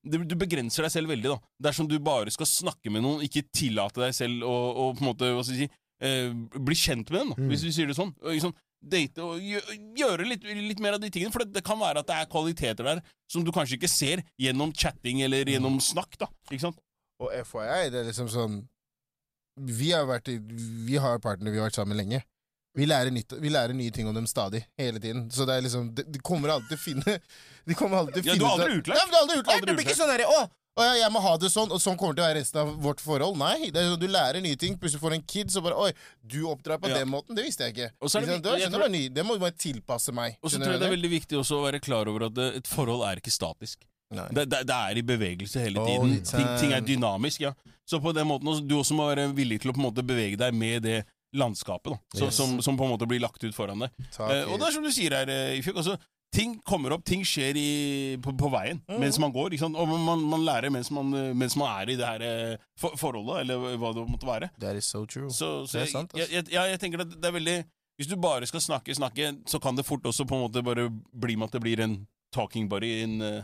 [SPEAKER 2] det, Du begrenser deg selv veldig. da Dersom du bare skal snakke med noen, ikke tillate deg selv å, å på en måte, hva skal jeg si, eh, bli kjent med dem, da,
[SPEAKER 1] Mm.
[SPEAKER 2] hvis vi sier det sånn. Og Ikke sånn date og gjø- gjøre litt, litt mer av de tingene. For det, det kan være at det er kvaliteter der som du kanskje ikke ser gjennom chatting eller gjennom snakk. da Ikke sant?
[SPEAKER 3] Og FYI, det er liksom sånn Vi har vært i, Vi har partnere, vi har vært sammen lenge. Vi lærer, nytt, vi lærer nye ting om dem stadig, hele tiden. Så det er liksom De, de kommer alltid til å finne De kommer alltid til
[SPEAKER 2] Ja,
[SPEAKER 3] å
[SPEAKER 2] du er
[SPEAKER 3] finne ut
[SPEAKER 2] aldri
[SPEAKER 3] av-
[SPEAKER 2] utlært.
[SPEAKER 3] Nei, men du er aldri utlært.
[SPEAKER 2] Aldri
[SPEAKER 3] det blir ikke sånn derre Å, å ja, jeg må ha det sånn, og sånn kommer det til å være resten av vårt forhold. Nei. det er sånn, Du lærer nye ting, plutselig får du en kid, så bare Oi, du oppdrar på
[SPEAKER 2] Ja.
[SPEAKER 3] den måten. Det visste jeg ikke.
[SPEAKER 2] Og så er det
[SPEAKER 3] Ikke sant?
[SPEAKER 2] viktig-
[SPEAKER 3] det, var,
[SPEAKER 2] jeg
[SPEAKER 3] sånn, det, var ny, det må bare tilpasse meg.
[SPEAKER 2] Og så
[SPEAKER 3] Skjønner
[SPEAKER 2] tror jeg
[SPEAKER 3] du
[SPEAKER 2] det er veldig viktig også å være klar over at det, et forhold er ikke statisk.
[SPEAKER 3] Nei.
[SPEAKER 2] Det, det, det er i bevegelse hele
[SPEAKER 1] All
[SPEAKER 2] tiden.
[SPEAKER 1] the
[SPEAKER 2] Ting, ting er
[SPEAKER 3] time.
[SPEAKER 2] dynamisk, ja. Så på den måten også, du også må være villig til å på en måte bevege deg med det landskapet da, så,
[SPEAKER 1] Yes.
[SPEAKER 2] som, som på en måte blir lagt ut foran deg.
[SPEAKER 3] Takk,
[SPEAKER 2] Eh, og det er som du sier her, eh, Ifjok, altså, ting kommer opp, ting skjer i, på, på veien
[SPEAKER 3] Mm.
[SPEAKER 2] mens man går. Ikke sant? Og man- man, man lærer mens man, eh, mens man er i det her eh, for, forholdet, eller hva det måtte være.
[SPEAKER 3] That is so true.
[SPEAKER 2] Så, så
[SPEAKER 3] Det er
[SPEAKER 2] jeg,
[SPEAKER 3] sant, ass.
[SPEAKER 2] jeg, jeg, ja, jeg tenker at det er veldig Hvis du bare skal snakke, snakke, så kan det fort også på en måte bare bli med at det blir en talking buddy. En, eh,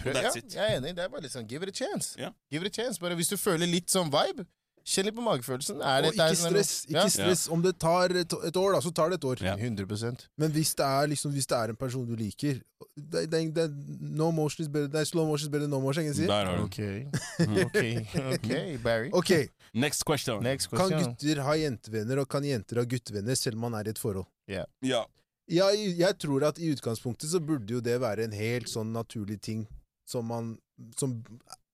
[SPEAKER 3] Prøv,
[SPEAKER 2] That's
[SPEAKER 3] ja,
[SPEAKER 2] it.
[SPEAKER 3] jeg er enig. Det er bare litt sånn give it a chance.
[SPEAKER 2] Ja.
[SPEAKER 3] Give it a chance, bare Hvis du føler litt sånn vibe, kjenn litt på magefølelsen. Er
[SPEAKER 1] Og
[SPEAKER 3] dette her
[SPEAKER 1] ikke
[SPEAKER 3] sånn-
[SPEAKER 1] stress.
[SPEAKER 3] Ja.
[SPEAKER 1] Ikke stress. Om det tar et et år, da, så tar det et år.
[SPEAKER 2] Ja.
[SPEAKER 3] 100
[SPEAKER 1] Men hvis det er, liksom, hvis det er en person du liker det, det, det, No motion is better Nei, slow motion is better than no motion. Jeg sier.
[SPEAKER 2] der har du den.
[SPEAKER 3] Ok. ok, ok, Barry.
[SPEAKER 1] Ok,
[SPEAKER 2] Next question.
[SPEAKER 3] Next
[SPEAKER 1] Kan
[SPEAKER 3] question.
[SPEAKER 1] gutter ha jentevenner, og kan jenter ha guttevenner selv om man er i et forhold?
[SPEAKER 2] Ja.
[SPEAKER 1] Jeg, jeg tror at i utgangspunktet så burde jo det være en helt sånn naturlig ting som man som,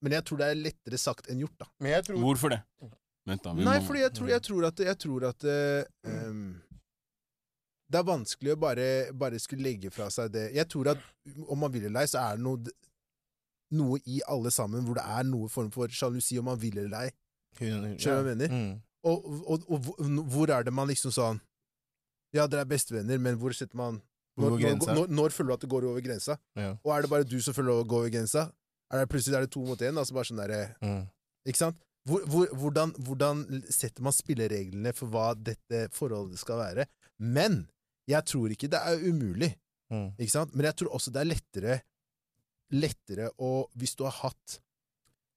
[SPEAKER 1] Men jeg tror det er lettere sagt enn gjort, da.
[SPEAKER 3] Men jeg tror
[SPEAKER 2] Hvorfor det? Vent da, vi
[SPEAKER 1] Nei,
[SPEAKER 2] må-
[SPEAKER 1] fordi jeg tror, jeg tror at, jeg tror at eh, ehm, Det er vanskelig å bare, bare skulle legge fra seg det. Jeg tror at om man vil eller ei, så er det noe, noe i alle sammen hvor det er noe form for sjalusi, om man vil eller ei.
[SPEAKER 3] Skjønner
[SPEAKER 1] Skjønner du hva jeg mener?
[SPEAKER 3] Mm.
[SPEAKER 1] Og, og, og hvor- hvor er det man liksom sånn Ja, dere er bestevenner, men hvor setter man
[SPEAKER 3] Hvor
[SPEAKER 1] Når,
[SPEAKER 3] går
[SPEAKER 1] når,
[SPEAKER 3] grensa?
[SPEAKER 1] når, når føler du at det går over grensa?
[SPEAKER 3] Ja.
[SPEAKER 1] Og er det bare du som føler å gå over grensa? Er det plutselig er det to mot én? Altså bare sånn der, eh,
[SPEAKER 3] Mm.
[SPEAKER 1] ikke sant? Hvor, hvor, hvordan, hvordan setter man spillereglene for hva dette forholdet skal være? Men jeg tror ikke det er umulig,
[SPEAKER 3] Mm.
[SPEAKER 1] ikke sant? Men jeg tror også det er lettere, lettere å Hvis du har hatt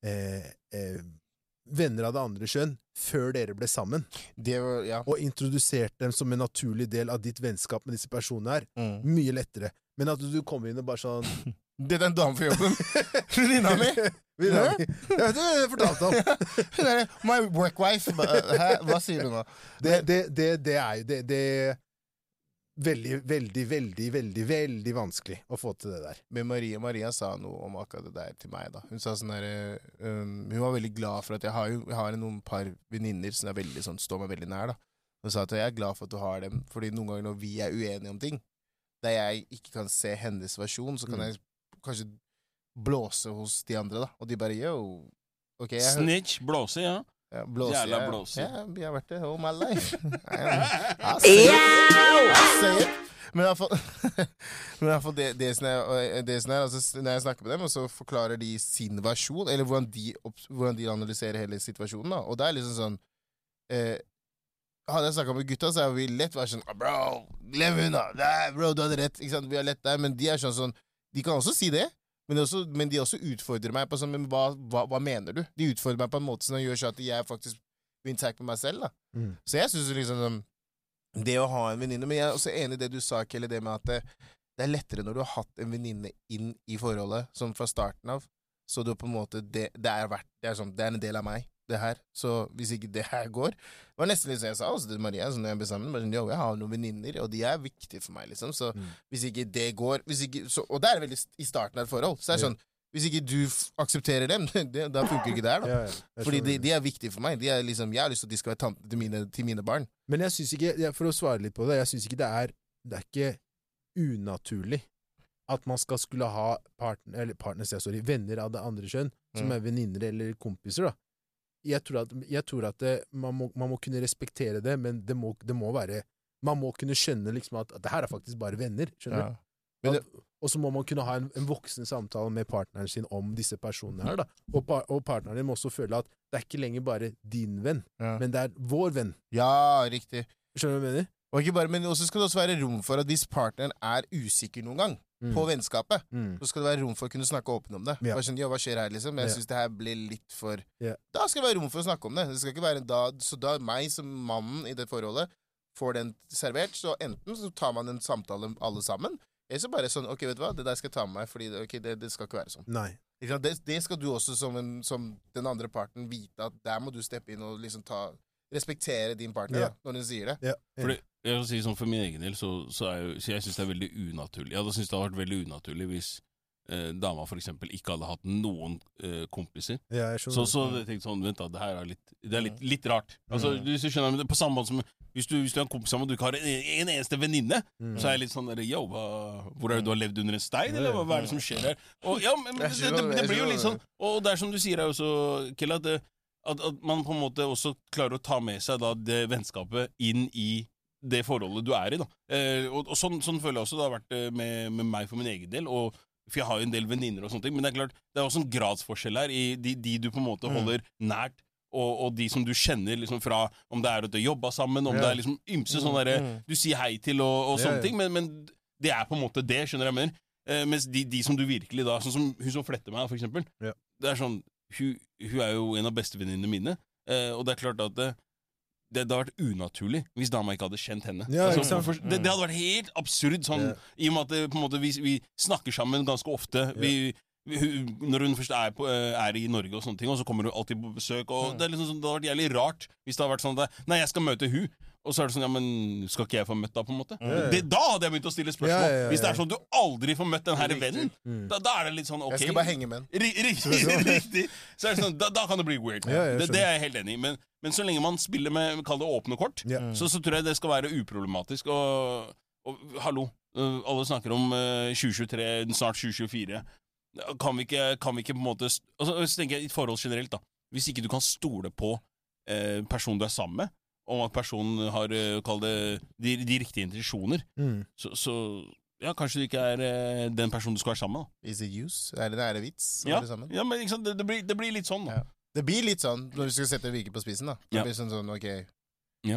[SPEAKER 1] eh, eh, venner av det andre kjønn før dere ble sammen,
[SPEAKER 3] Det var Ja.
[SPEAKER 1] og introdusert dem som en naturlig del av ditt vennskap med disse personene her,
[SPEAKER 3] Mm.
[SPEAKER 1] mye lettere. Men at du kommer inn og bare sånn
[SPEAKER 3] Dette er en dame for jobben. Venninna mi!
[SPEAKER 1] Vidar, Jeg vet ikke hva jeg fortalte om!
[SPEAKER 3] Hun er my work wife. Ba- Hæ? Hva sier du nå?
[SPEAKER 1] Det, det, det, det er jo det, det veldig, veldig, veldig, veldig, veldig vanskelig å få til det der.
[SPEAKER 3] Men Maria Maria sa noe om akkurat det der til meg. da Hun sa sånn der, eh, um, hun var veldig glad for at jeg har, jo, jeg har noen par venninner som er veldig sånn, står meg veldig nær. da Hun sa at jeg er glad for at du har dem, Fordi noen ganger når vi er uenige om ting, der jeg ikke kan se hennes versjon, så kan
[SPEAKER 1] Mm.
[SPEAKER 3] jeg kanskje blåse hos de andre, da. Og de bare yo. ok, jeg, hø-
[SPEAKER 2] Snitch, blåse, ja.
[SPEAKER 3] ja, blåser,
[SPEAKER 2] Jævla
[SPEAKER 3] jeg-
[SPEAKER 2] blåser.
[SPEAKER 3] Ja, jeg har vært det all my life. I say it.
[SPEAKER 4] Yeah!
[SPEAKER 3] I say it. Men i hvert fall- men i hvert fall det, det som er, og det som er altså, s- Når jeg snakker med dem, og så forklarer de sin versjon, eller hvordan de, opp- hvordan de analyserer hele situasjonen, da. og det er liksom sånn eh, Hadde jeg snakka med gutta, så hadde vi lett vært sånn «Ah, Bro, glem unna! Nei, bro, du hadde rett! Ikke sant? Vi har lett der, men de er sånn sånn De kan også si det. Men, det er også, men de også utfordrer meg på sånn Men hva, hva, hva mener du? De utfordrer meg på en måte som gjør så at jeg faktisk blir intact med meg selv. da
[SPEAKER 1] Mm.
[SPEAKER 3] Så jeg syns liksom sånn, Det å ha en venninne Men jeg er også enig i det du sa, Kelly, det med at det, det er lettere når du har hatt en venninne inn i forholdet, sånn fra starten av. Så du på en måte Det, det, er, verdt, det, er, sånn, det er en del av meg, det her. Så hvis ikke det her går Det var nesten litt som jeg sa også til Maria sånn, når jeg ble sammen. Bare sånn, jo, jeg har noen venninner, og de er viktige for meg, liksom. Så
[SPEAKER 1] Mm.
[SPEAKER 3] hvis ikke det går hvis ikke, så, Og det er veldig s- i starten av et forhold. Så det er
[SPEAKER 1] Ja.
[SPEAKER 3] sånn Hvis ikke du f aksepterer dem, det, da funker ikke det her, da.
[SPEAKER 1] Ja, ja, jeg
[SPEAKER 3] Fordi
[SPEAKER 1] skjønner.
[SPEAKER 3] de, de er viktige for meg. De er liksom, jeg har lyst til at de skal være tante til mine, til mine barn.
[SPEAKER 1] Men jeg syns ikke, jeg- for å svare litt på det, jeg syns ikke det er Det er ikke unaturlig at man skal skulle ha partner, eller partner, sier jeg, sorry, venner av det andre kjønn, som
[SPEAKER 3] Mm.
[SPEAKER 1] er venninner eller kompiser, da. Jeg tror at, jeg tror at det, man, må, man må kunne respektere det, men det må, det må være Man må kunne skjønne liksom at, at det her er faktisk bare venner, skjønner du?
[SPEAKER 3] Men det-
[SPEAKER 1] Og så må man kunne ha en, en voksen samtale med partneren sin om disse personene her, da. Og, par, og partneren din må også føle at det er ikke lenger bare din venn,
[SPEAKER 3] Ja.
[SPEAKER 1] men det er vår venn.
[SPEAKER 3] Ja, riktig.
[SPEAKER 1] Skjønner du hva jeg mener?
[SPEAKER 3] Og ikke bare, men også skal det også være rom for at hvis partneren er usikker noen gang
[SPEAKER 1] Mm.
[SPEAKER 3] på vennskapet,
[SPEAKER 1] Mm.
[SPEAKER 3] så skal det være rom for å kunne snakke åpent om det.
[SPEAKER 1] Ja.
[SPEAKER 3] Bare sånn, ja, hva skjer her, liksom? Jeg
[SPEAKER 1] Ja.
[SPEAKER 3] synes det her ble litt for
[SPEAKER 1] Ja.
[SPEAKER 3] Da skal det være rom for å snakke om det. det skal ikke være da, så da meg som mannen i det forholdet får den servert, så enten så tar man en samtale alle sammen, eller så bare sånn Ok, vet du hva, det der skal jeg ta med meg, fordi det- ok, det, det skal ikke være sånn.
[SPEAKER 1] Nei.
[SPEAKER 3] Ikke sant? Det, det skal du også som, en, som den andre parten vite at der må du steppe inn og liksom ta Respektere din partner
[SPEAKER 1] Ja.
[SPEAKER 3] da, når hun sier det.
[SPEAKER 1] Ja.
[SPEAKER 2] Fordi, jeg kan si sånn For min egen del så, så er jo, så jeg synes det er veldig unaturlig. Jeg hadde syntes det hadde vært veldig unaturlig hvis eh, dama for eksempel ikke hadde hatt noen eh, kompiser.
[SPEAKER 1] ja, jeg skjønner.
[SPEAKER 2] Så, så jeg tenkte sånn, vent da, det her er litt, det er litt, litt rart. Altså,
[SPEAKER 3] Mm.
[SPEAKER 2] hvis du skjønner, men det er På samme måte som hvis du, hvis du er en kompis sammen og du ikke har en, en eneste venninne,
[SPEAKER 1] Mm.
[SPEAKER 2] så er jeg litt sånn der, yo, hva, hvor er det du har levd under en stein, eller hva, hva er det som skjer her? Og, ja, men, men
[SPEAKER 3] Jeg
[SPEAKER 2] det,
[SPEAKER 3] skjønner
[SPEAKER 2] det,
[SPEAKER 3] det,
[SPEAKER 2] det
[SPEAKER 3] jeg
[SPEAKER 2] blir jo
[SPEAKER 3] skjønner
[SPEAKER 2] litt sånn, og det er som du sier her også, Kjell, at, det- at, at man på en måte også klarer å ta med seg da det vennskapet inn i det forholdet du er i, da. Eh, og og sånn, sånn føler jeg også det har vært eh, med, med meg for min egen del, og for jeg har jo en del venninner og sånne ting, men det er klart, det er også en gradsforskjell her i de, de du på en måte
[SPEAKER 3] Mm.
[SPEAKER 2] holder nært, og, og de som du kjenner liksom fra, om det er at du har jobbet sammen, om
[SPEAKER 1] Ja.
[SPEAKER 2] det er liksom ymse sånn derre du sier hei til og, og
[SPEAKER 1] Ja,
[SPEAKER 2] sånne
[SPEAKER 1] ja.
[SPEAKER 2] ting, men, men det er på en måte det, skjønner jeg mener. Eh, mens de, de som du virkelig da, sånn som hun som fletter meg, for eksempel,
[SPEAKER 1] Ja.
[SPEAKER 2] det er sånn, hun, hun er jo en av bestevenninnene mine, eh, og det er klart at det, det, det hadde vært unaturlig hvis dama ikke hadde kjent henne.
[SPEAKER 1] Ja, ikke
[SPEAKER 2] altså,
[SPEAKER 1] sant?
[SPEAKER 2] for, det, det hadde vært helt absurd, sånn,
[SPEAKER 1] Ja.
[SPEAKER 2] i og med at det, på en måte, vi, vi snakker sammen ganske ofte. Vi, vi- hun, når hun først er, på, eh, er i Norge, og sånne ting Og så kommer hun alltid på besøk. Og
[SPEAKER 3] Mm.
[SPEAKER 2] Det er liksom sånn, det hadde vært jævlig rart hvis det hadde vært sånn at det- Nei, jeg skal møte hun og så er det sånn, ja, men skal ikke jeg få møtt da, på en måte?
[SPEAKER 1] Ja, ja.
[SPEAKER 2] Det, da hadde jeg begynt å stille spørsmål.
[SPEAKER 1] Ja, ja, ja, ja.
[SPEAKER 2] Hvis det er sånn at du aldri får møtt den her
[SPEAKER 3] Riktig.
[SPEAKER 2] vennen,
[SPEAKER 1] Mm.
[SPEAKER 2] da, da er det litt sånn, ok
[SPEAKER 3] Jeg skal bare henge med den.
[SPEAKER 2] Ri- Riktig, riktig. Så er det sånn, da, da kan det bli weird.
[SPEAKER 1] sånn. Ja, ja, jeg
[SPEAKER 2] det, det er jeg helt enig i. Men, men så lenge man spiller med, kall det åpne kort,
[SPEAKER 1] Ja.
[SPEAKER 2] så, så tror jeg det skal være uproblematisk. Og, og hallo, øh, alle snakker om øh, 2023, snart 2024. Kan vi ikke, kan vi ikke på en måte st- altså, Så tenker jeg i et forhold generelt, da. Hvis ikke du kan stole på eh, personen du er sammen med, om at personen har eh, kall det, de, de riktige intensjoner,
[SPEAKER 1] Mm.
[SPEAKER 2] så, så ja, kanskje du ikke er eh, den personen du skal være sammen med. da.
[SPEAKER 3] Is it use? Er det, er det vits? å
[SPEAKER 2] Ja,
[SPEAKER 3] være sammen?
[SPEAKER 2] ja men ikke sant? Det, det, blir, det blir litt sånn, da.
[SPEAKER 3] Ja. Det blir litt sånn når du skal sette Vike på spissen. da Det
[SPEAKER 2] Ja.
[SPEAKER 3] blir sånn sånn, ok Vi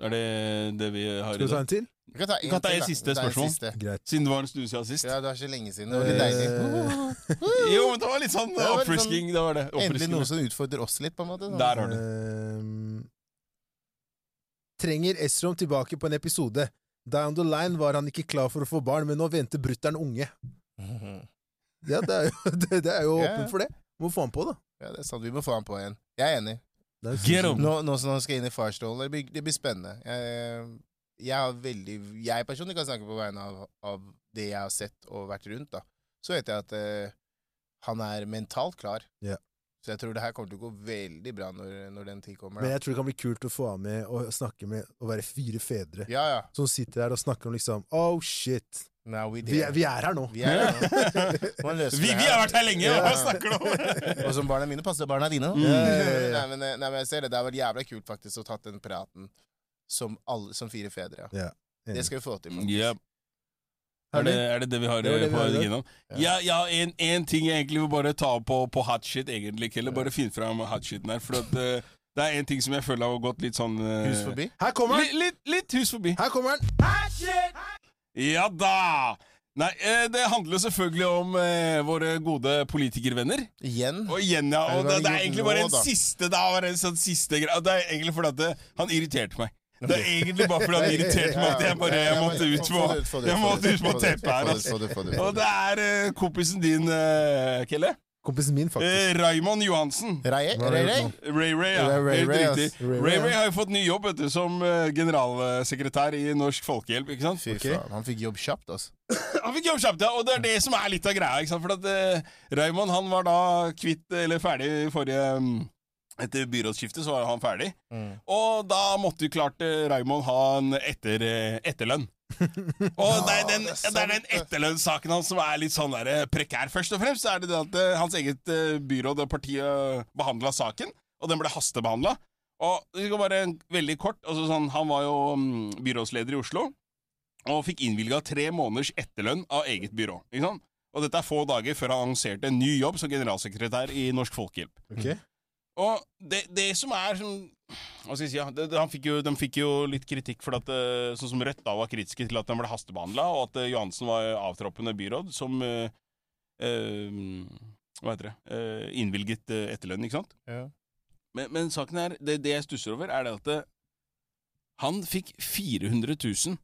[SPEAKER 2] Er det det vi har
[SPEAKER 1] Skal
[SPEAKER 2] i
[SPEAKER 1] vi ta
[SPEAKER 2] dag?
[SPEAKER 1] en til?
[SPEAKER 3] kan ta
[SPEAKER 2] Vi kan ta
[SPEAKER 3] til,
[SPEAKER 2] et
[SPEAKER 3] da.
[SPEAKER 2] siste
[SPEAKER 3] Vi tar et
[SPEAKER 2] spørsmål.
[SPEAKER 3] siste.
[SPEAKER 1] Greit.
[SPEAKER 2] Siden det var en stund siden sist.
[SPEAKER 3] Ja, det var så lenge siden. Det var litt deilig.
[SPEAKER 1] Eh,
[SPEAKER 2] Jo, men det var litt sånn
[SPEAKER 3] Det var litt
[SPEAKER 2] oppfrisking. Det var det.
[SPEAKER 3] Endelig
[SPEAKER 2] Oppfriskende.
[SPEAKER 3] noe som utfordrer oss litt, på en måte. sånn.
[SPEAKER 2] Der har du.
[SPEAKER 1] Ehm, Trenger Esrom tilbake på en episode. Down the line var han ikke klar for å få barn, men nå venter brutter'n unge. Ja, det er jo, det, det er jo
[SPEAKER 3] Ja, ja.
[SPEAKER 1] åpent for det. Må få han på, da.
[SPEAKER 3] Ja, det er sant. Vi må få han på igjen. Jeg er enig.
[SPEAKER 1] Det er jo
[SPEAKER 2] Get
[SPEAKER 1] sånn-
[SPEAKER 2] him.
[SPEAKER 3] Nå, nå som han skal inn i farsrollen, det, blir- det blir spennende. Jeg, jeg har veldig Jeg personlig kan snakke på vegne av, av det jeg har sett og vært rundt, da. Så vet jeg at eh, han er mentalt klar.
[SPEAKER 1] Ja.
[SPEAKER 3] Så jeg tror det her kommer til å gå veldig bra når, når den tid kommer.
[SPEAKER 1] Men
[SPEAKER 3] Da.
[SPEAKER 1] jeg tror det kan bli kult å få av med og snakke med og være fire fedre
[SPEAKER 3] Ja, ja.
[SPEAKER 1] som sitter her og snakker om liksom Oh shit!
[SPEAKER 3] Now we
[SPEAKER 1] Vi
[SPEAKER 3] there.
[SPEAKER 1] er, vi er her nå!
[SPEAKER 3] Vi er her nå. Man løser
[SPEAKER 2] Vi,
[SPEAKER 3] det
[SPEAKER 2] vi
[SPEAKER 3] her.
[SPEAKER 2] har vært her lenge, og
[SPEAKER 3] Ja.
[SPEAKER 2] hva snakker du om?
[SPEAKER 3] Og som barna mine passer barna dine.
[SPEAKER 2] Mm.
[SPEAKER 3] nei, men, eh, nei, men jeg ser det. Det har vært jævla kult faktisk å tatt den praten som, alle, som fire fedre. Ja.
[SPEAKER 1] Ja.
[SPEAKER 3] Det skal vi få til. faktisk.
[SPEAKER 2] Yep. Er det, er det det vi har
[SPEAKER 1] Det var det
[SPEAKER 2] eh,
[SPEAKER 1] vi
[SPEAKER 2] på
[SPEAKER 1] hadde.
[SPEAKER 2] agendaen? Ja, ja en, en ting jeg egentlig vil bare ta opp på, på hot shit, egentlig, Kelle. Bare finn fram hot shiten her. For at, eh, det er en ting som jeg føler har gått litt sånn eh,
[SPEAKER 3] Hus forbi.
[SPEAKER 1] Her kommer den!
[SPEAKER 2] Litt, litt, litt hus forbi.
[SPEAKER 1] Her kommer den!
[SPEAKER 2] Ja da! Nei, eh, det handler jo selvfølgelig om eh, våre gode politikervenner.
[SPEAKER 3] Igjen.
[SPEAKER 2] Og igjen, ja. Og det,
[SPEAKER 3] Nei, det var
[SPEAKER 2] det er egentlig bare
[SPEAKER 3] nå,
[SPEAKER 2] en
[SPEAKER 3] da.
[SPEAKER 2] siste da, bare en sånn siste greie. Det er egentlig fordi at det, han irriterte meg. Det er egentlig bare fordi han irriterte meg at jeg bare jeg måtte ut på, jeg måtte ut på teppet her. Altså. Og det er eh, kompisen din, eh, Kelle.
[SPEAKER 1] Kompisen min, faktisk.
[SPEAKER 2] Eh, Raymond Johansen.
[SPEAKER 3] Reie,
[SPEAKER 1] Hva er
[SPEAKER 3] Ray
[SPEAKER 1] det
[SPEAKER 3] Ray?
[SPEAKER 1] for
[SPEAKER 2] Ray Ray, ja.
[SPEAKER 3] Ray Ray,
[SPEAKER 2] Helt
[SPEAKER 3] Ray, ass.
[SPEAKER 2] riktig.
[SPEAKER 1] Ray Ray,
[SPEAKER 2] Ray
[SPEAKER 1] ja.
[SPEAKER 2] Ray har jo fått ny jobb vet du, som eh, generalsekretær i Norsk Folkehjelp. ikke sant?
[SPEAKER 3] Fy faen, han fikk jobb kjapt, altså.
[SPEAKER 2] Han fikk jobb kjapt, ja, og det er det som er litt av greia. ikke sant? For at eh, Raymond han var da kvitt, eller ferdig i forrige mm, Etter byrådsskiftet så var han ferdig. Og da måtte jo klart eh, Raymond ha en etter, eh, etterlønn. Og det er den,
[SPEAKER 3] det er
[SPEAKER 2] det er den
[SPEAKER 3] sant,
[SPEAKER 2] etterlønnssaken hans som er litt sånn der eh, prekær. Først og fremst så er det det at eh, hans eget eh, byråd og partiet behandla saken, og den ble hastebehandla. Og vi skal bare veldig kort altså sånn, Han var jo mm, byrådsleder i Oslo og fikk innvilga tre måneders etterlønn av eget byrå. Ikke sant? Og dette er få dager før han annonserte en ny jobb som generalsekretær i Norsk Folkehjelp.
[SPEAKER 1] Ok.
[SPEAKER 2] Og det, det som er som Hva skal jeg si? Ja, det, det, han fikk jo, de fikk jo litt kritikk for at eh, Sånn som Rødt da var kritiske til at den ble hastebehandla, og at eh, Johansen var avtroppende byråd som eh, eh, Hva heter det? Eh, innvilget eh, etterlønn, ikke sant?
[SPEAKER 3] Ja.
[SPEAKER 2] Men, men saken er det, det jeg stusser over, er det at eh, han fikk 400 000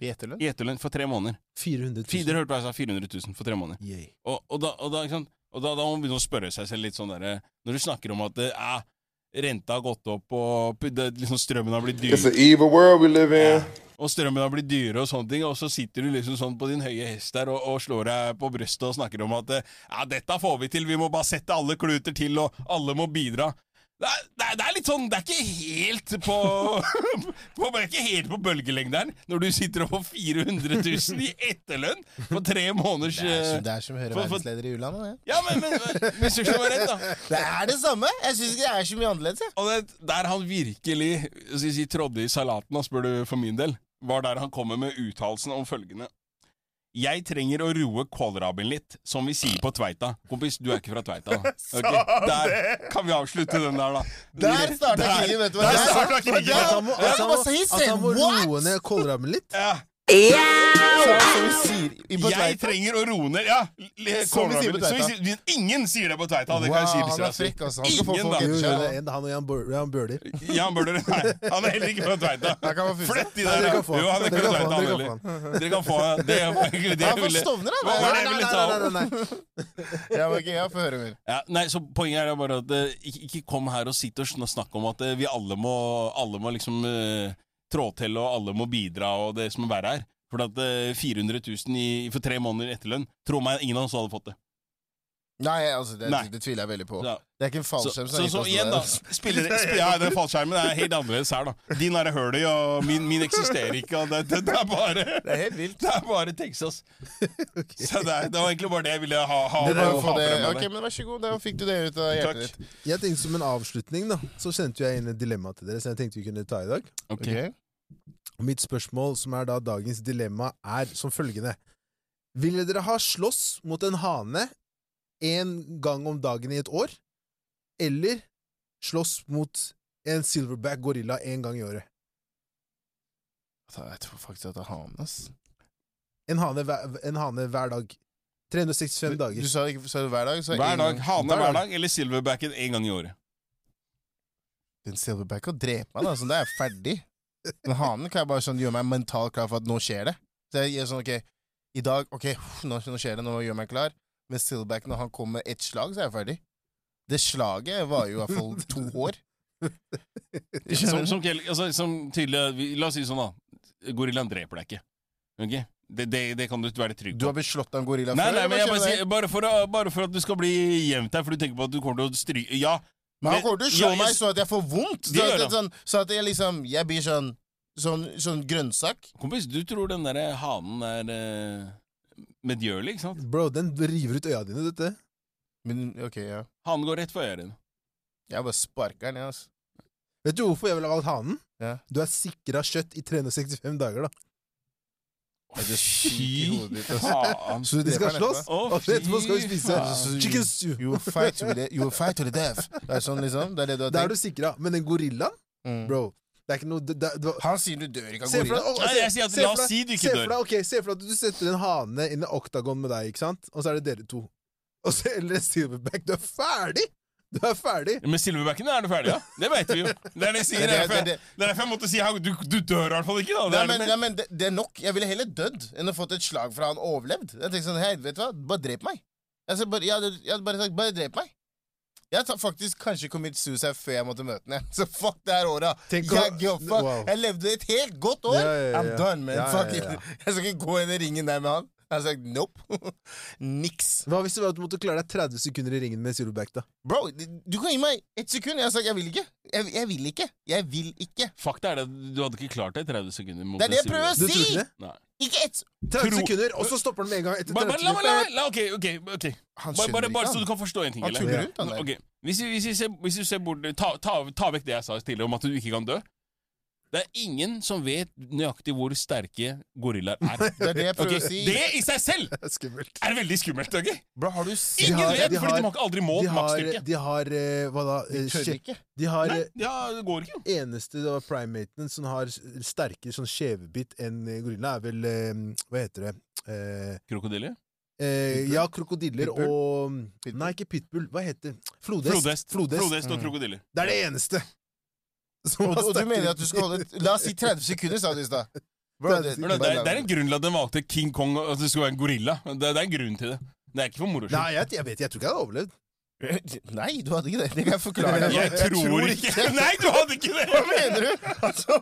[SPEAKER 3] I etterlønn?
[SPEAKER 2] i etterlønn for tre måneder.
[SPEAKER 1] 400
[SPEAKER 2] Fi-
[SPEAKER 1] 000.
[SPEAKER 2] Dere hørte hva jeg sa, 400 000 for tre måneder.
[SPEAKER 1] Yay.
[SPEAKER 2] Og, og, da, og, da, ikke sant? og da, da må man begynne å spørre seg selv litt sånn derre Når du snakker om at eh, ah, renta har gått opp, og p- det, liksom strømmen har blitt
[SPEAKER 4] It's an
[SPEAKER 2] dyr
[SPEAKER 4] evil world we live in.
[SPEAKER 2] Og strømmen har blitt dyre og sånne ting, og så sitter du liksom sånn på din høye hest der og, og slår deg på brystet og snakker om at eh, ja, dette får vi til, vi må bare sette alle kluter til, og alle må bidra. Det er, det, er, det er litt sånn Det er ikke helt på, på Det er ikke helt på bølgelengderen når du sitter og får 400 000 i etterlønn på tre måneders
[SPEAKER 3] Det er som,
[SPEAKER 2] eh,
[SPEAKER 3] det er som å høre
[SPEAKER 2] for- for-
[SPEAKER 3] verdensleder i u-land. det.
[SPEAKER 2] ja, men, men, men hvis du slår rett, da.
[SPEAKER 3] Det er det samme! Jeg syns ikke det er så mye annerledes. jeg.
[SPEAKER 2] Og det, der han virkelig hva skal jeg si, trådde i salaten, da, spør du for min del, var der han kommer med uttalelsen om følgende. Jeg trenger å roe kålrabien litt, som vi sier på Tveita. Kompis, du er ikke fra Tveita. da. Ok, Der kan vi avslutte den der, da.
[SPEAKER 3] Der starta
[SPEAKER 2] Der-
[SPEAKER 3] krigen, vet du hva.
[SPEAKER 2] der
[SPEAKER 3] Der
[SPEAKER 2] starta
[SPEAKER 3] starta
[SPEAKER 2] krigen.
[SPEAKER 1] At han
[SPEAKER 3] krigen!
[SPEAKER 1] må,
[SPEAKER 3] Ja,
[SPEAKER 1] at han må,
[SPEAKER 3] hva sa jeg?
[SPEAKER 1] at han må
[SPEAKER 3] What?
[SPEAKER 1] roe ned kålrammen litt.
[SPEAKER 2] Ja.
[SPEAKER 3] Som vi sier i- på
[SPEAKER 2] Jeg
[SPEAKER 3] Tveita.
[SPEAKER 2] trenger å roe ned Ja, l-
[SPEAKER 3] Som vi sier på
[SPEAKER 2] kålrabien. Så vi
[SPEAKER 3] Tveita.
[SPEAKER 2] sier- Ingen sier det på Tveita, det kan jeg si.
[SPEAKER 3] Wow,
[SPEAKER 2] hvis
[SPEAKER 3] han
[SPEAKER 2] jeg
[SPEAKER 3] er
[SPEAKER 2] sier.
[SPEAKER 3] frekk, altså. Han skal få
[SPEAKER 2] Ingen,
[SPEAKER 3] folk
[SPEAKER 2] da.
[SPEAKER 1] Jo, jo,
[SPEAKER 3] etter
[SPEAKER 1] det
[SPEAKER 3] seg.
[SPEAKER 1] er en, han og Jan, Bø- Jan Bøhler.
[SPEAKER 2] Jan Bøhler Nei, han er heller ikke fra Tveita.
[SPEAKER 3] Her kan man fikse.
[SPEAKER 2] Flett i
[SPEAKER 1] Nei,
[SPEAKER 2] der,
[SPEAKER 1] dere
[SPEAKER 2] ja.
[SPEAKER 1] kan få
[SPEAKER 2] Jo, han er
[SPEAKER 1] han.
[SPEAKER 2] ikke
[SPEAKER 1] Dere
[SPEAKER 2] fra
[SPEAKER 1] kan få han,
[SPEAKER 2] Tveita, han
[SPEAKER 1] dere kan
[SPEAKER 2] heller.
[SPEAKER 1] få han.
[SPEAKER 2] Dere kan få Det var egentlig det
[SPEAKER 3] Han
[SPEAKER 2] jeg
[SPEAKER 3] er fra
[SPEAKER 2] ville
[SPEAKER 3] Stovner,
[SPEAKER 2] Hva var
[SPEAKER 3] da.
[SPEAKER 2] det jeg ville ta opp?
[SPEAKER 1] Nei, nei, nei.
[SPEAKER 3] Ja, men ok, ja, få høre mer.
[SPEAKER 2] Ja, nei, så Poenget er da bare at eh, ikke, ikke kom her og sitt og sn- snakk om at eh, vi alle må, alle må liksom eh, trå til, og alle må bidra, og det som må være her. For at eh, 400 000 i, for tre måneder etterlønn Tro meg, ingen av oss hadde fått det.
[SPEAKER 3] Nei, altså, det,
[SPEAKER 2] Nei.
[SPEAKER 3] det tviler jeg veldig på.
[SPEAKER 2] Ja.
[SPEAKER 3] Det er ikke en
[SPEAKER 2] Så,
[SPEAKER 3] fallskjerm som
[SPEAKER 2] så,
[SPEAKER 3] har gitt
[SPEAKER 2] så
[SPEAKER 3] oss
[SPEAKER 2] igjen,
[SPEAKER 3] det.
[SPEAKER 2] da.
[SPEAKER 3] der.
[SPEAKER 2] Spiller, spiller, ja, den fallskjermen er helt annerledes her, da. Din er det høl i, og min, min eksisterer ikke. Og det, det, det er bare
[SPEAKER 3] Det er helt vilt.
[SPEAKER 2] Det er bare Texas. Så det, er, det var egentlig bare det jeg ville ha, ha,
[SPEAKER 1] Det der
[SPEAKER 2] ha
[SPEAKER 1] å
[SPEAKER 3] Få
[SPEAKER 2] frem
[SPEAKER 3] det.
[SPEAKER 2] av
[SPEAKER 3] Ok,
[SPEAKER 2] det.
[SPEAKER 3] men Vær så god, da fikk du det ut av
[SPEAKER 2] Takk.
[SPEAKER 3] hjertet ditt.
[SPEAKER 1] Jeg tenkte Som en avslutning da Så sendte jeg inn et dilemma til dere, som jeg tenkte vi kunne ta i dag.
[SPEAKER 3] Ok.
[SPEAKER 1] Og Mitt spørsmål, som er da dagens dilemma, er som følgende. Ville dere ha slåss mot en hane en gang om dagen i et år, eller slåss mot en silverback gorilla en gang i året?
[SPEAKER 3] Da, Altså, Jeg tror faktisk at det er hanen, ass.
[SPEAKER 1] En hane, hver- en hane hver dag. 365 dager.
[SPEAKER 3] Du sa det ikke sa det hver dag? Så
[SPEAKER 2] Hver
[SPEAKER 3] en
[SPEAKER 2] dag.
[SPEAKER 3] gang-
[SPEAKER 2] Hane hver dag, eller silverbacken en gang i året.
[SPEAKER 3] Den silverbacken dreper meg, da. Sånn, da er jeg ferdig. Men hanen kan jeg bare sånn gjøre meg mentalt klar for at nå skjer det. Så jeg gjør sånn, ok, i dag, ok, nå, nå skjer det, nå gjør jeg meg klar. Men silverbacken, når han kom med ett slag, så er jeg ferdig. Det slaget var jo i hvert fall to år.
[SPEAKER 2] Som, som, Kjell- altså, som tydelig, vi- La oss si det sånn, da. Gorillaen dreper deg ikke. Ok? Det, det, det kan du være trygg
[SPEAKER 3] Du
[SPEAKER 2] på.
[SPEAKER 3] har blitt slått av en gorilla
[SPEAKER 2] Nei,
[SPEAKER 3] før?
[SPEAKER 2] nei,
[SPEAKER 3] eller
[SPEAKER 2] men
[SPEAKER 3] hva
[SPEAKER 2] jeg bare,
[SPEAKER 3] skjer med
[SPEAKER 2] sier,
[SPEAKER 3] deg?
[SPEAKER 2] bare, for, å- bare for at du skal bli jevnt her, for du tenker på at du kommer til å stryke Ja,
[SPEAKER 3] Men han
[SPEAKER 2] men-
[SPEAKER 3] kommer til å slå
[SPEAKER 2] Ja, jeg-
[SPEAKER 3] meg så at jeg får vondt!
[SPEAKER 2] Det
[SPEAKER 3] Så
[SPEAKER 2] gjør
[SPEAKER 3] at,
[SPEAKER 2] han.
[SPEAKER 3] sånn, så at jeg liksom Jeg blir sånn Sånn, sånn grønnsak.
[SPEAKER 2] kompis, du tror den derre hanen er eh, medgjørlig, ikke sant?
[SPEAKER 1] Bro, den river ut øya dine, dette.
[SPEAKER 3] Men ok, ja.
[SPEAKER 2] Hanen går rett for øya dine.
[SPEAKER 3] Jeg bare sparker den, jeg, altså.
[SPEAKER 1] Vet du hvorfor jeg ville valgt hanen?
[SPEAKER 3] Ja.
[SPEAKER 1] Du er sikra kjøtt i 365 dager, da.
[SPEAKER 3] Jeg er så syk i hodet ditt, ass.
[SPEAKER 2] faen.
[SPEAKER 1] Så de skal
[SPEAKER 3] Dreper den
[SPEAKER 1] slåss!
[SPEAKER 2] Å,
[SPEAKER 1] Og så etterpå skal vi
[SPEAKER 2] fy
[SPEAKER 1] spise
[SPEAKER 2] faen.
[SPEAKER 1] chicken stew.
[SPEAKER 3] You will fight to the, you will fight to the death. Det er sånn, liksom. Det er det du har
[SPEAKER 1] Da er
[SPEAKER 3] tenkt.
[SPEAKER 1] du sikra. Men den gorillaen,
[SPEAKER 3] Mm.
[SPEAKER 1] bro Det er ikke noe det, det, det,
[SPEAKER 3] Han sier du dør ikke av
[SPEAKER 1] Se for
[SPEAKER 3] gorilla.
[SPEAKER 1] deg, å,
[SPEAKER 2] Nei,
[SPEAKER 1] se-
[SPEAKER 2] jeg sier at
[SPEAKER 1] se
[SPEAKER 2] la
[SPEAKER 1] for
[SPEAKER 2] oss
[SPEAKER 1] deg-
[SPEAKER 2] si du ikke
[SPEAKER 1] se
[SPEAKER 2] dør.
[SPEAKER 1] for deg, ok, se for deg at du setter en hane inn i oktagon med deg, ikke sant? Og så er det dere to. Og så eller en silverback. Du er ferdig! Du er ferdig!
[SPEAKER 2] Med silverbackene er du ferdig, ja. Det vet vi jo. Det er det jeg sier. Det er derfor jeg,
[SPEAKER 3] det-
[SPEAKER 2] det er derfor jeg måtte si her, du, du dør i hvert fall ikke, da. Det
[SPEAKER 3] Nei,
[SPEAKER 2] er
[SPEAKER 3] men,
[SPEAKER 2] det
[SPEAKER 3] nei,
[SPEAKER 2] med-
[SPEAKER 3] men det, det er nok. Jeg ville heller dødd enn å fått et slag fra han overlevd. Jeg tenkte sånn, hei, vet du hva, bare drep meg. Altså, bare, jeg, hadde, jeg hadde bare sagt, bare drep meg. Jeg hadde faktisk kanskje kommet suicide før jeg måtte møte den. jeg. Så fuck det her året.
[SPEAKER 1] Tenk å-
[SPEAKER 3] Jeg, ga fuck.
[SPEAKER 1] wow.
[SPEAKER 3] jeg levde et helt godt år.
[SPEAKER 1] Ja, ja, ja,
[SPEAKER 3] I'm
[SPEAKER 1] ja.
[SPEAKER 3] done, man.
[SPEAKER 1] Ja, ja,
[SPEAKER 3] fuck
[SPEAKER 1] ja.
[SPEAKER 3] it. Jeg skal ikke gå inn i ringen der med han. Jeg har sagt nope. Niks.
[SPEAKER 1] Hva hvis det var at du måtte klare deg 30 sekunder i ringen med en silverback, da?
[SPEAKER 3] Bro, du kan gi meg ett sekund. Jeg har sagt jeg vil ikke. Jeg, jeg vil ikke. Jeg vil ikke.
[SPEAKER 2] Fakta er det at du hadde ikke klart det i 30 sekunder. mot
[SPEAKER 3] Det er det jeg
[SPEAKER 2] en
[SPEAKER 3] prøver å
[SPEAKER 1] Du tror
[SPEAKER 3] si!
[SPEAKER 1] ikke det?
[SPEAKER 2] Nei.
[SPEAKER 3] Ikke ett
[SPEAKER 2] Tro-
[SPEAKER 1] 30 sekunder, og så stopper den med en gang etter
[SPEAKER 2] Bare,
[SPEAKER 1] 30
[SPEAKER 2] bare, la, meg- la,
[SPEAKER 1] sekunder.
[SPEAKER 2] meg- la, ok, ok, ok.
[SPEAKER 3] Han
[SPEAKER 2] Bare, bare, bare så du
[SPEAKER 3] han.
[SPEAKER 2] kan forstå en ting.
[SPEAKER 3] Han
[SPEAKER 2] Eller?
[SPEAKER 3] tuller rundt, han
[SPEAKER 2] Nå,
[SPEAKER 3] der.
[SPEAKER 2] ok. Hvis, vi- hvis, vi ser, hvis vi ser bort ta, ta, ta vekk det jeg sa tidligere om at du ikke kan dø. Det er ingen som vet nøyaktig hvor sterke gorillaer er.
[SPEAKER 3] Det er det jeg prøver
[SPEAKER 2] Ok,
[SPEAKER 3] å si.
[SPEAKER 2] Det i seg selv
[SPEAKER 1] Det er skummelt.
[SPEAKER 2] er veldig skummelt. ok?
[SPEAKER 3] Bro, har du
[SPEAKER 1] De
[SPEAKER 2] Ingen
[SPEAKER 1] har-
[SPEAKER 2] vet,
[SPEAKER 1] de
[SPEAKER 2] fordi de
[SPEAKER 1] har-
[SPEAKER 2] har ikke aldri målt
[SPEAKER 1] De har,
[SPEAKER 2] maksstyrke.
[SPEAKER 1] de har eh, Hva da? eh,
[SPEAKER 3] Tør
[SPEAKER 1] skje-
[SPEAKER 3] ikke.
[SPEAKER 1] De har
[SPEAKER 2] Nei,
[SPEAKER 1] eh,
[SPEAKER 2] ja, det går ikke.
[SPEAKER 1] eneste det var primaten som har s- sterkere sånn skjevebitt enn eh, gorilla, er vel eh, Hva heter det? Eh,
[SPEAKER 2] Krokodille?
[SPEAKER 1] Eh,
[SPEAKER 3] Pitbull?
[SPEAKER 1] ja, krokodiller
[SPEAKER 3] Pitbull?
[SPEAKER 1] og mm,
[SPEAKER 3] Pitbull?
[SPEAKER 1] Nei, ikke pitbull. Hva heter det? Flodhest.
[SPEAKER 2] Flodhest.
[SPEAKER 1] Flodhest.
[SPEAKER 2] Flodhest og
[SPEAKER 3] Mm.
[SPEAKER 2] krokodiller.
[SPEAKER 1] Det er det eneste! som
[SPEAKER 3] Og,
[SPEAKER 1] har
[SPEAKER 3] og du
[SPEAKER 1] sterkere-
[SPEAKER 3] mener at du skal holde et- La oss si 30 sekunder, sa du i stad. Bro, det,
[SPEAKER 2] Men Det, det, er, det er en grunn til at den valgte King Kong og at det skulle være en gorilla. Det, det er en grunn til det. Det er ikke for moro skyld.
[SPEAKER 1] Nei, jeg, jeg vet jeg tror ikke jeg hadde overlevd.
[SPEAKER 3] Nei, du hadde ikke det. Det kan jeg forklare deg.
[SPEAKER 2] Jeg tror ikke Nei, du hadde ikke
[SPEAKER 3] Hva
[SPEAKER 2] det!
[SPEAKER 3] mener du? Altså,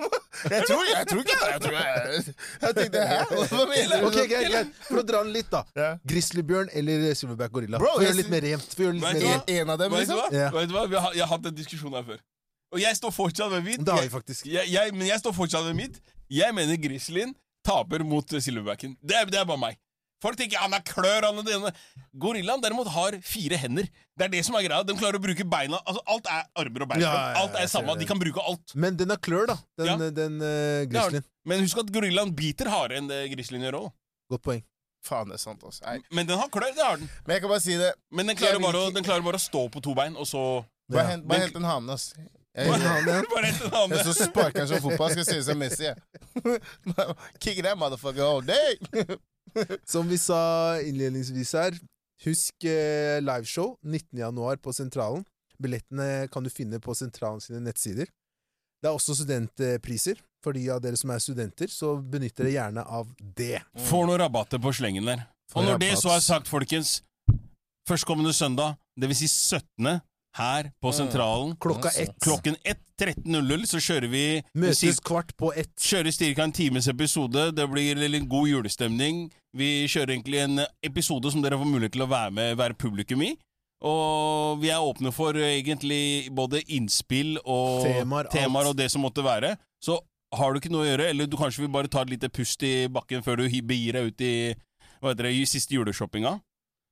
[SPEAKER 3] jeg tror, jeg tror ikke det. Jeg, tror jeg, jeg tenkte hæ? Hva mener du?
[SPEAKER 1] Ok, greit, greit. For å dra den litt, da.
[SPEAKER 3] Ja.
[SPEAKER 1] Grizzlybjørn eller eh, silverback gorilla?
[SPEAKER 3] Bro,
[SPEAKER 1] For å
[SPEAKER 3] jeg
[SPEAKER 1] gjøre det litt
[SPEAKER 3] sy-
[SPEAKER 1] mer jevnt. For å gjøre det
[SPEAKER 2] Vet
[SPEAKER 1] litt mer
[SPEAKER 2] du hva?
[SPEAKER 1] jevnt.
[SPEAKER 3] En, en av dem,
[SPEAKER 2] Vet du
[SPEAKER 3] liksom?
[SPEAKER 2] hva?
[SPEAKER 1] Ja.
[SPEAKER 2] Vet du hva? Vi har, jeg har hatt den diskusjonen her før. Og jeg står fortsatt ved mitt.
[SPEAKER 1] Det har vi faktisk.
[SPEAKER 2] Jeg, jeg, men jeg står fortsatt ved mitt. Jeg mener Grizzlyen taper mot eh, Silverbacken. Det, er- det er bare meg. Folk tenker han har klør, han er det ene. Gorillaen derimot har fire hender. Det er det som er greia. De klarer å bruke beina. Altså, alt er armer og bein.
[SPEAKER 1] Ja, ja, ja,
[SPEAKER 2] alt er
[SPEAKER 1] jeg ser
[SPEAKER 2] samme.
[SPEAKER 1] det.
[SPEAKER 2] De kan bruke alt.
[SPEAKER 1] Men den har klør, da. Den,
[SPEAKER 2] Ja.
[SPEAKER 1] den eh,
[SPEAKER 2] Det har
[SPEAKER 1] grizzlyen.
[SPEAKER 2] Men husk at gorillaen biter hardere enn det grizzlyen gjør òg.
[SPEAKER 1] Godt poeng.
[SPEAKER 3] Faen, det er sant, altså. Nei.
[SPEAKER 2] Men den har klør, det har den.
[SPEAKER 3] Men jeg kan bare si det.
[SPEAKER 2] Men den
[SPEAKER 3] Jeg
[SPEAKER 2] klarer,
[SPEAKER 3] vil
[SPEAKER 2] bare, å-
[SPEAKER 3] ikke-
[SPEAKER 2] den klarer bare å stå på to bein, og så
[SPEAKER 3] Bare
[SPEAKER 1] Ja.
[SPEAKER 3] hent, bare hent en hane, ass. Jeg,
[SPEAKER 1] Men han, ja.
[SPEAKER 2] Bare etter den
[SPEAKER 3] jeg
[SPEAKER 2] andre.
[SPEAKER 3] så sparker han som fotball. Skal se ut som Messi, jeg. Kick that motherfucker all day!
[SPEAKER 1] Som vi sa innledningsvis her, husk eh, liveshow 19.1 på Sentralen. Billettene kan du finne på Sentralen sine nettsider. Det er også studentpriser. For de av dere som er studenter, så benytt dere gjerne av det.
[SPEAKER 2] Får noen rabatter på slengen der.
[SPEAKER 1] Får
[SPEAKER 2] Og når
[SPEAKER 1] rabatt.
[SPEAKER 2] det så er sagt, folkens Førstkommende søndag, det vil si 17. her på
[SPEAKER 3] Mm.
[SPEAKER 2] Sentralen
[SPEAKER 1] Klokka
[SPEAKER 3] Altså.
[SPEAKER 1] ett.
[SPEAKER 2] klokken 1, 13.00, så kjører vi
[SPEAKER 1] Møtes kvart på ett.
[SPEAKER 2] Kjører cirka en times episode. Det blir litt god julestemning. Vi kjører egentlig en episode som dere får mulighet til å være med, være publikum i. Og vi er åpne for eh, egentlig både innspill og
[SPEAKER 1] Temaer, alt.
[SPEAKER 2] temaer og det som måtte være. Så har du ikke noe å gjøre, eller du kanskje vil bare ta et lite pust i bakken før du hi- begir deg ut i hva heter det, i siste juleshoppinga,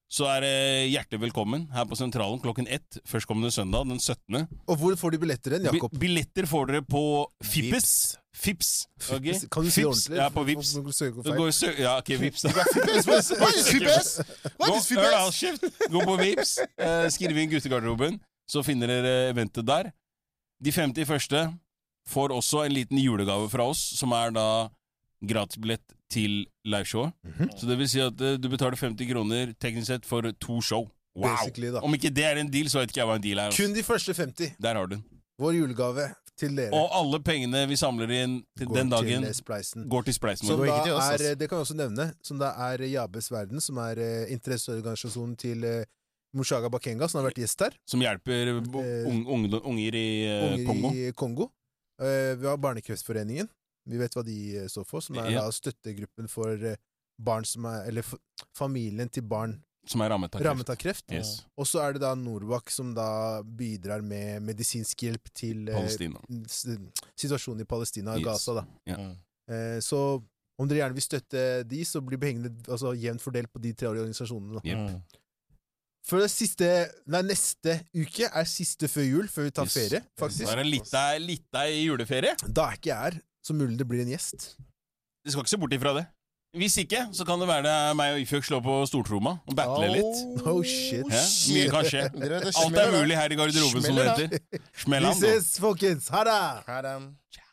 [SPEAKER 2] så er det hjertelig velkommen her på Sentralen klokken ett førstkommende søndag den 17.
[SPEAKER 1] Og hvor får de billetter hen,
[SPEAKER 2] Bi
[SPEAKER 1] Jakob?
[SPEAKER 2] billetter får dere på Fippes. Fips. ok?
[SPEAKER 1] Kan du si det
[SPEAKER 2] Fips,
[SPEAKER 1] ordentlig?
[SPEAKER 2] Ja, på Vips.
[SPEAKER 1] Folk søker
[SPEAKER 2] Så
[SPEAKER 1] feil.
[SPEAKER 2] går sø ja, ok, Vips da.
[SPEAKER 3] Hva er Fippes? Hva
[SPEAKER 2] Gå,
[SPEAKER 3] er
[SPEAKER 2] hør da,
[SPEAKER 3] Fippes?
[SPEAKER 2] skift. Gå på Vips, eh, skriv inn guttegarderoben, så finner dere eventet der. De 50 første får også en liten julegave fra oss, som er da gratisbillett til liveshowet.
[SPEAKER 1] Mhm.
[SPEAKER 2] Så det vil si at eh, du betaler 50 kroner teknisk sett for to show. Wow!
[SPEAKER 1] Basically, da.
[SPEAKER 2] Om ikke det er en deal, så vet ikke jeg hva en deal er. altså.
[SPEAKER 1] Kun de første 50.
[SPEAKER 2] Der har du den.
[SPEAKER 1] Vår julegave til dere.
[SPEAKER 2] Og alle pengene vi samler inn til
[SPEAKER 1] går
[SPEAKER 2] den dagen,
[SPEAKER 1] til Spleisen.
[SPEAKER 2] går til Spleisen.
[SPEAKER 1] Som
[SPEAKER 3] går
[SPEAKER 1] da
[SPEAKER 3] ikke til oss,
[SPEAKER 1] er,
[SPEAKER 3] altså.
[SPEAKER 1] det kan jeg også nevne, som da er Jabes Verden, som er eh, interesseorganisasjonen til eh, Mushaga Bakenga, som har vært gjest her.
[SPEAKER 2] som hjelper bo-
[SPEAKER 1] Eh,
[SPEAKER 2] ung- ungdom- unger i eh,
[SPEAKER 1] Unger
[SPEAKER 2] Kongo.
[SPEAKER 1] i Kongo. Eh, vi har Barnekreftforeningen. Vi vet hva de eh, står for, som er
[SPEAKER 2] Ja.
[SPEAKER 1] da støttegruppen for eh, barn som er Eller f familien til barn
[SPEAKER 2] Som er rammet av kreft.
[SPEAKER 1] rammet av kreft.
[SPEAKER 2] Yes.
[SPEAKER 1] Og så er det da Norwak som da bidrar med medisinsk hjelp til eh,
[SPEAKER 2] Palestina.
[SPEAKER 1] s- situasjonen i Palestina og
[SPEAKER 2] Yes.
[SPEAKER 1] Gaza, da.
[SPEAKER 2] Ja.
[SPEAKER 3] Mm.
[SPEAKER 1] Eh, så om dere gjerne vil støtte de, så blir pengene altså, jevnt fordelt på de tre organisasjonene. Da.
[SPEAKER 2] Jep.
[SPEAKER 3] Mm.
[SPEAKER 1] For det siste, nei, neste uke er siste før jul, før vi tar
[SPEAKER 2] Yes.
[SPEAKER 1] ferie,
[SPEAKER 2] Da
[SPEAKER 1] faktisk.
[SPEAKER 2] er det litt deg- litt deg i juleferie.
[SPEAKER 1] Da er ikke jeg her, så mulig det blir en gjest.
[SPEAKER 2] Du skal ikke se bort ifra det. Hvis ikke, så kan det være det er meg og Ifjøk slår på stortromma og battler litt.
[SPEAKER 1] Oh, shit.
[SPEAKER 2] Ja, mye kan skje.
[SPEAKER 3] Dere vet, det
[SPEAKER 2] Alt er
[SPEAKER 3] smeller, da.
[SPEAKER 2] mulig her i garderoben, som det
[SPEAKER 3] Smeller, da.
[SPEAKER 2] heter. Smell
[SPEAKER 1] Vi
[SPEAKER 2] an, da.
[SPEAKER 1] ses, folkens! Ha det!
[SPEAKER 3] Her, um,
[SPEAKER 2] Ciao.